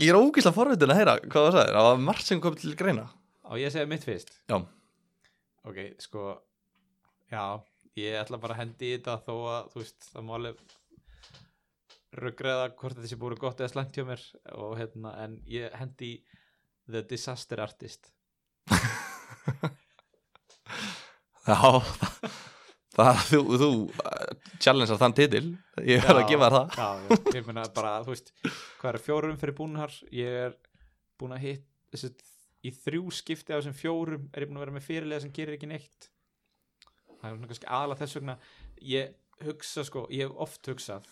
Speaker 1: ég er ógislega forvitin að heyra hvað það sagðir, það var margt sem kom til greina
Speaker 2: Á ég að segja mitt fyrst?
Speaker 1: Já.
Speaker 2: Ok, sko já, ég ætla bara að hendi í þetta þó að, þú veist, það má alveg ruggreða hvort þetta sé búið gott eða slæmt hjá mér og hérna, en ég hendi í The Disaster Artist
Speaker 1: já, það, það þú, þú uh, challengear þann titil ég verð
Speaker 2: Já,
Speaker 1: að gefa þér það
Speaker 2: já, já, ég meina bara, þú veist hvað er fjórum fyrir búnar ég er búin að hitt þessi, í þrjú skipti af þessum fjórum er ég búin að vera með fyrirlega sem gerir ekki neitt það er svona kannski aðla þess vegna ég hugsa sko, ég hef oft hugsað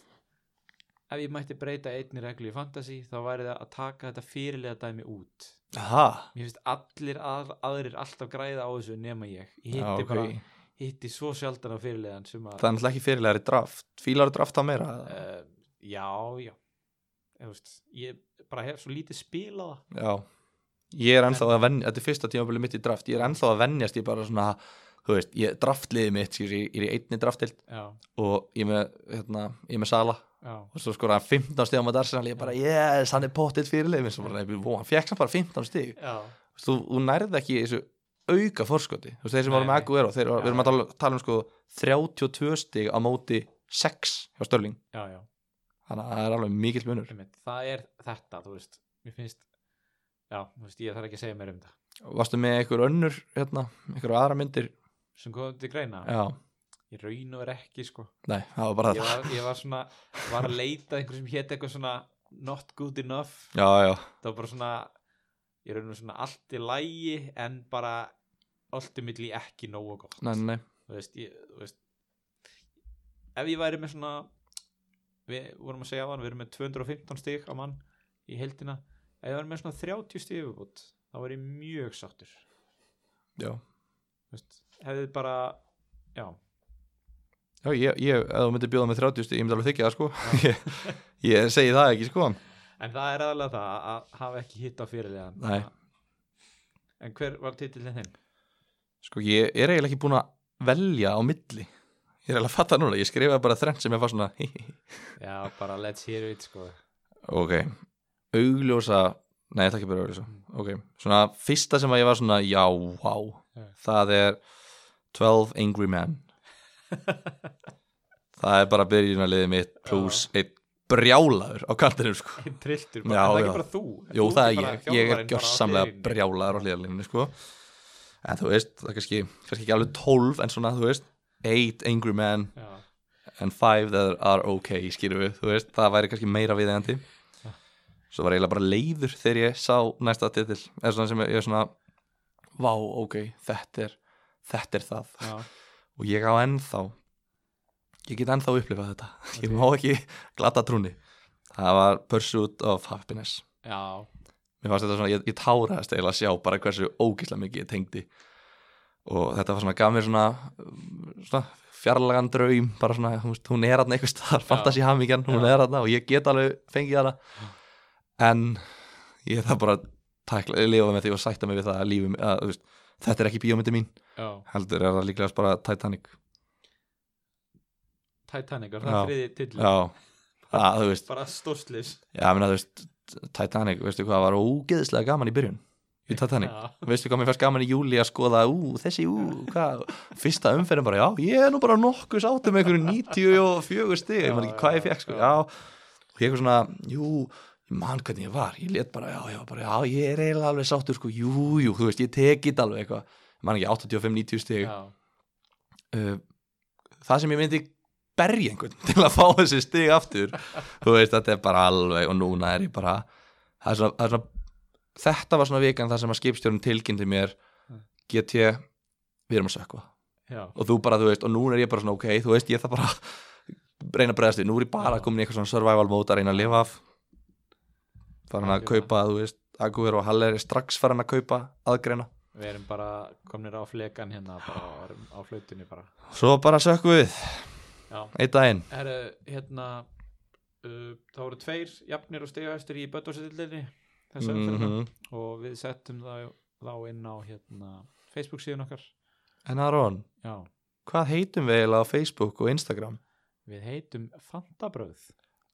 Speaker 2: ef ég mætti breyta einni reglu í fantasy þá væri það að taka þetta fyrirlega dæmi út
Speaker 1: Aha,
Speaker 2: mér finnst allir að, aðrir alltaf græða á þessu nema ég ég hitti
Speaker 1: já, ok.
Speaker 2: bara, hitti svo sjaldan á fyrirlegan sem að
Speaker 1: Það er náttúrulega ekki fyrirlegari draft. Fílar draft á meira? eða?
Speaker 2: uh, já, já ég, veist, ég bara hef svo lítið spilað það.
Speaker 1: Já. Ég er ennþá að venja, þetta er fyrsta tímabili mitt í draft, ég er ennþá að venjast, ég bara svona, þú veist, ég draftliði mitt, skilur, ég ég er í einni draftild
Speaker 2: já,
Speaker 1: og ég er með, hérna, ég er með Sala
Speaker 2: já,
Speaker 1: og svo skoraði hann 15 stíð á maður Arsenal, ég bara, yes, hann er pottitt fyrirlið minn, svo bara, nei, vó, hann fekk samt bara 15 stíð.
Speaker 2: já,
Speaker 1: Þú, veist, þú, þú nærði ekki í þessu auka forskoti, þú veist, þeir sem
Speaker 2: Nei,
Speaker 1: voru með
Speaker 2: nei.
Speaker 1: Aguero, þeir,
Speaker 2: Já.
Speaker 1: við erum að tala, tala um sko 32 stíg á móti 6 hjá Störling,
Speaker 2: já, já
Speaker 1: þannig að það er alveg mikill munur
Speaker 2: einmitt, það er þetta, þú veist mér finnst, já, þú veist, ég þarf ekki að segja mér um það
Speaker 1: Varstu með einhver önnur, hérna, einhver aðra myndir
Speaker 2: sem komum til greina,
Speaker 1: Já,
Speaker 2: ég raun og er ekki sko.
Speaker 1: nei, það var bara
Speaker 2: ég,
Speaker 1: þetta
Speaker 2: var, ég var svona var að leita að einhverjum sem hétt eitthvað svona not good enough
Speaker 1: Já, já,
Speaker 2: það var bara svona ég raun og veru svona allt í lægi en bara ultimately ekki nógu gott
Speaker 1: nei, nei, nei.
Speaker 2: þú veist, ég, þú veist ef ég væri með svona við vorum að segja á hann, við erum með 215 stig á mann í heldina ef ég væri með svona 30 stig yfirbútt þá væri ég mjög sáttur
Speaker 1: Já.
Speaker 2: Þú veist, hefði bara já,
Speaker 1: Já, ég, ég, ef þú myndir bjóða með 30 stíg, ég myndi alveg þykja það, sko ég, ég segi það ekki, sko
Speaker 2: en það er aðalega það að hafa ekki hitt á fyrirlegan
Speaker 1: Nei.
Speaker 2: en hver var titillin þinn?
Speaker 1: Sko, ég er eiginlega ekki búin að velja á milli Ég er eiginlega að fatta núna, ég skrifaði bara þrennt sem ég var svona
Speaker 2: já, bara let's hear it sko
Speaker 1: Ok, augljósa Nei, það er ekki bara augljósa Ok, svona fyrsta sem að ég var svona Já, wow,
Speaker 2: Já.
Speaker 1: það er 12 Angry Men Það er bara byrjunarliðið mitt plus einn brjálaður á kantinum sko.
Speaker 2: trilltur,
Speaker 1: Já,
Speaker 2: bara, er það
Speaker 1: já.
Speaker 2: ekki bara þú
Speaker 1: Jú,
Speaker 2: þú
Speaker 1: það
Speaker 2: ert
Speaker 1: er
Speaker 2: bara
Speaker 1: ég, ég er
Speaker 2: þjálfarinn bara á
Speaker 1: gjörsamlega
Speaker 2: hliðinni.
Speaker 1: brjálaður á hlýðarlínu sko. en þú veist, það er kannski, kannski ekki alveg 12 en svona, þú veist 8 angry men
Speaker 2: já,
Speaker 1: and 5 that are okay, skýrum við þú veist, það væri kannski meira viðeigandi svo var ég eiginlega bara leiður þegar ég sá næsta titil, eða svona sem ég er svona vá, ok, þetta er þetta er það
Speaker 2: já,
Speaker 1: og ég á ennþá ég get ennþá upplifað þetta ég
Speaker 2: Ok.
Speaker 1: má ekki glata trúni það var Pursuit of Happiness
Speaker 2: já,
Speaker 1: mér fannst þetta svona, ég, ég táraðist eiginlega að sjá bara hversu ógislega mikið ég tengdi og þetta var svona, gaf mér svona um, svona fjarlagan draum bara svona, hún, veist, hún er aðna einhvers staðar fantasi hamingjan, hún
Speaker 2: Já.
Speaker 1: er aðna og ég get alveg fengið hana en ég það bara tækla, lifa með því og sætta mig við það að lífi að, þú veist, þetta er ekki bíómyndi mín
Speaker 2: já
Speaker 1: heldur er það líklega bara Titanic
Speaker 2: Titanic, var það
Speaker 1: Já.
Speaker 2: þriði tillin
Speaker 1: Já, að, þú veist
Speaker 2: bara stórslis
Speaker 1: Já, ég meina, þú veist, Titanic, veistu hvað var ógeðslega gaman í byrjun í Titanic,
Speaker 2: já,
Speaker 1: veistu hvað mér fannst gaman í júli að skoða, ú, þessi, ú, hvað fyrsta umferðin bara, já, ég er nú bara nokkuð sáttum með einhverju 94 stig ég man
Speaker 2: Já,
Speaker 1: ekki hvað ég
Speaker 2: já,
Speaker 1: fekk, sko,
Speaker 2: já.
Speaker 1: já og ég eitthvað svona, jú, ég man hvernig ég var ég let bara, já, já, bara, já, ég er eiginlega alveg sáttur, sko, jú, jú, þú veist, ég tekið alveg eitthvað, ég man ekki 85-90 stig
Speaker 2: já,
Speaker 1: uh, það sem ég myndi berja einhvern til að fá þessi stig aftur þú veist, þetta er bara alveg og núna er ég bara það er svona, það er svona, þetta var svona vikan það sem að skipstjórn tilkynnti mér
Speaker 2: Mm.
Speaker 1: get ég, við erum að sökva
Speaker 2: já,
Speaker 1: og þú bara, þú veist, og núna er ég bara svona ok, þú veist, ég það bara að reyna að bregðast við, nú er ég bara
Speaker 2: Já.
Speaker 1: komin í eitthvað svona survival mode að reyna að lifa af farin að
Speaker 2: Algjörlega.
Speaker 1: kaupa, þú veist Aguver og Haller er strax farin að kaupa aðgreina
Speaker 2: við erum bara komnir á flekan hérna bara, og erum á flautunni bara
Speaker 1: svo bara sökkum við,
Speaker 2: já,
Speaker 1: einn daginn
Speaker 2: herru, hérna uh, það voru tveir jafnir og stegahæstur í Böddarsettillinni þessu
Speaker 1: mm
Speaker 2: umferðina og við settum þá, þá inn á hérna Facebook síðan okkar
Speaker 1: en Aron
Speaker 2: já,
Speaker 1: hvað heitum við eiginlega á Facebook og Instagram?
Speaker 2: við heitum Fantabröð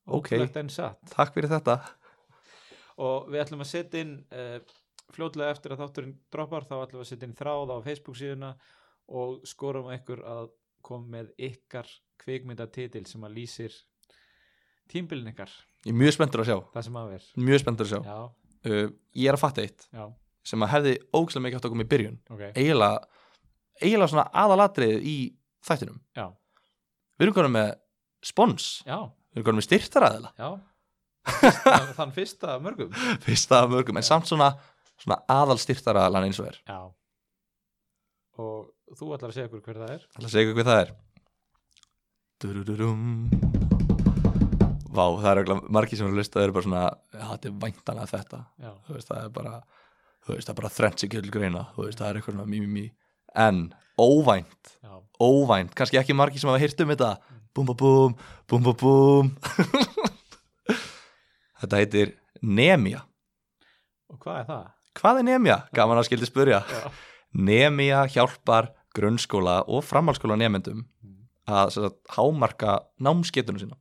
Speaker 1: Ok,
Speaker 2: Ótrúlegt eh? en satt.
Speaker 1: takk fyrir þetta.
Speaker 2: og við ætlum að setja inn uh, fljótlega eftir að þátturinn droppar þá ætlum við að setja inn þráð á Facebook síðuna og skorum á ykkur að koma með ykkar kvikmyndatitil sem að lýsir tímbilin ykkar,
Speaker 1: Ég er mjög spenntur að sjá,
Speaker 2: það sem að er
Speaker 1: mjög spenntur að sjá.
Speaker 2: já,
Speaker 1: Uh, ég er að fatta eitt
Speaker 2: já,
Speaker 1: sem að hefði ógæslega mikið átt að koma í byrjun.
Speaker 2: ok
Speaker 1: Eiginlega, eiginlega svona aðalatriðið í þættinum.
Speaker 2: já,
Speaker 1: Við erum konum með spons,
Speaker 2: já,
Speaker 1: við erum konum með styrtaraðila,
Speaker 2: já Þann- þann fyrsta af mörgum
Speaker 1: fyrsta af mörgum, en samt svona, svona aðal styrtaraðilan eins og er.
Speaker 2: já og þú ætlar að segja okkur hver það er
Speaker 1: Það segja ykkur hvað það er. Dururum. Vá, það er örugglega margir sem eru að lusta það eru bara svona, já þetta er væntanlega þetta
Speaker 2: já,
Speaker 1: þú veist, það er bara þú veist, það er bara þrennt sem getur til greina þú veist, það er eitthvað svona mí, mí, mí en óvænt,
Speaker 2: já,
Speaker 1: óvænt kannski ekki margir sem hafa hýrt um þetta búm, búm, búm, búm, búm, búm þetta heitir Nemia
Speaker 2: og hvað er það?
Speaker 1: hvað er Nemia? gaman að skildi spurja
Speaker 2: Já,
Speaker 1: Nemia hjálpar grunnskóla og framhalskóla nemyndum
Speaker 2: Mm.
Speaker 1: að sem sagt, hámarka námsgetunum sína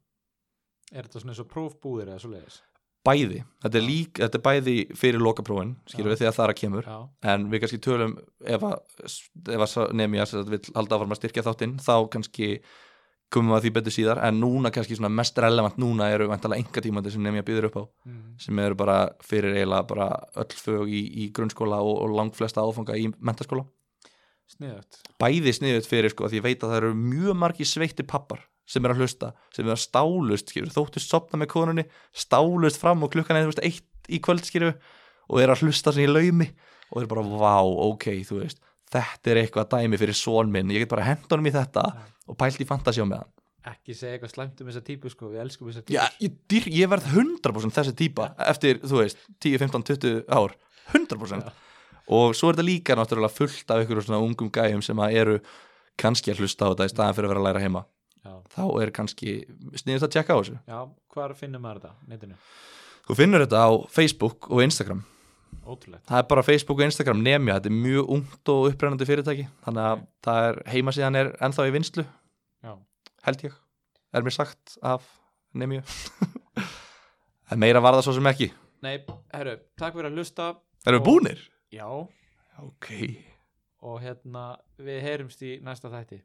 Speaker 2: er þetta svona eins og prófbúðir eða svo leiðis?
Speaker 1: bæði, þetta er, lík, þetta er bæði fyrir lokaprófin, skilur
Speaker 2: Já.
Speaker 1: við þegar þar að kemur
Speaker 2: Já,
Speaker 1: en við kannski tölum ef að, ef að nefnja að við halda áfram að styrkja þáttinn þá kannski komum við að því betur síðar en núna kannski svona mest relevant núna eru vantalega enga tímandi sem nefnja býður upp á
Speaker 2: mm.
Speaker 1: sem eru bara fyrir eiginlega bara öll fög í, í grunnskóla og, og langflesta áfanga í mentaskóla
Speaker 2: sniðut
Speaker 1: bæði sniðut fyrir sko því ég veit að það eru mjög margi sveitti pappar sem eru að hlusta, sem eru að stálust skilur, þóttust sopna með konunni stálust fram og klukkan er þú veist, eitt í kvöld skilur, og eru að hlusta sem í laumi og eru bara vá, ok, þú veist þetta er eitthvað dæmi fyrir són minn ég get bara hent honum í þetta
Speaker 2: Já.
Speaker 1: og pælt í fantasjá með hann
Speaker 2: Ekki segja eitthvað slæmt um þessa típu sko, við elskum þessa típu
Speaker 1: Já, ég, dyr, ég verð 100% þessi típa eftir, þú veist, 10, 15, 20 ár 100% og svo er þetta líka náttúrulega fullt af ykkur svona ungum gæjum sem að eru kannski að hlusta á þetta í staðan fyrir að vera að læra heima
Speaker 2: Já,
Speaker 1: þá er kannski sniðist að tjekka á þessu
Speaker 2: já hvar finnum maður þetta? Netinu,
Speaker 1: þú finnur þetta á Facebook og Instagram
Speaker 2: ótrúlegt
Speaker 1: það er bara Facebook og Instagram nemja þetta er mjög ungt og upprennandi fyrirtæki þannig að það er heimasíðan er ennþá í vinslu
Speaker 2: Já,
Speaker 1: held ég, er mér sagt af nemju en meira var það svo sem ekki
Speaker 2: nei, herru, takk fyrir að hlusta
Speaker 1: erum
Speaker 2: Og-
Speaker 1: við búnir?
Speaker 2: Já,
Speaker 1: ok,
Speaker 2: og hérna, við heyrumst í næsta þætti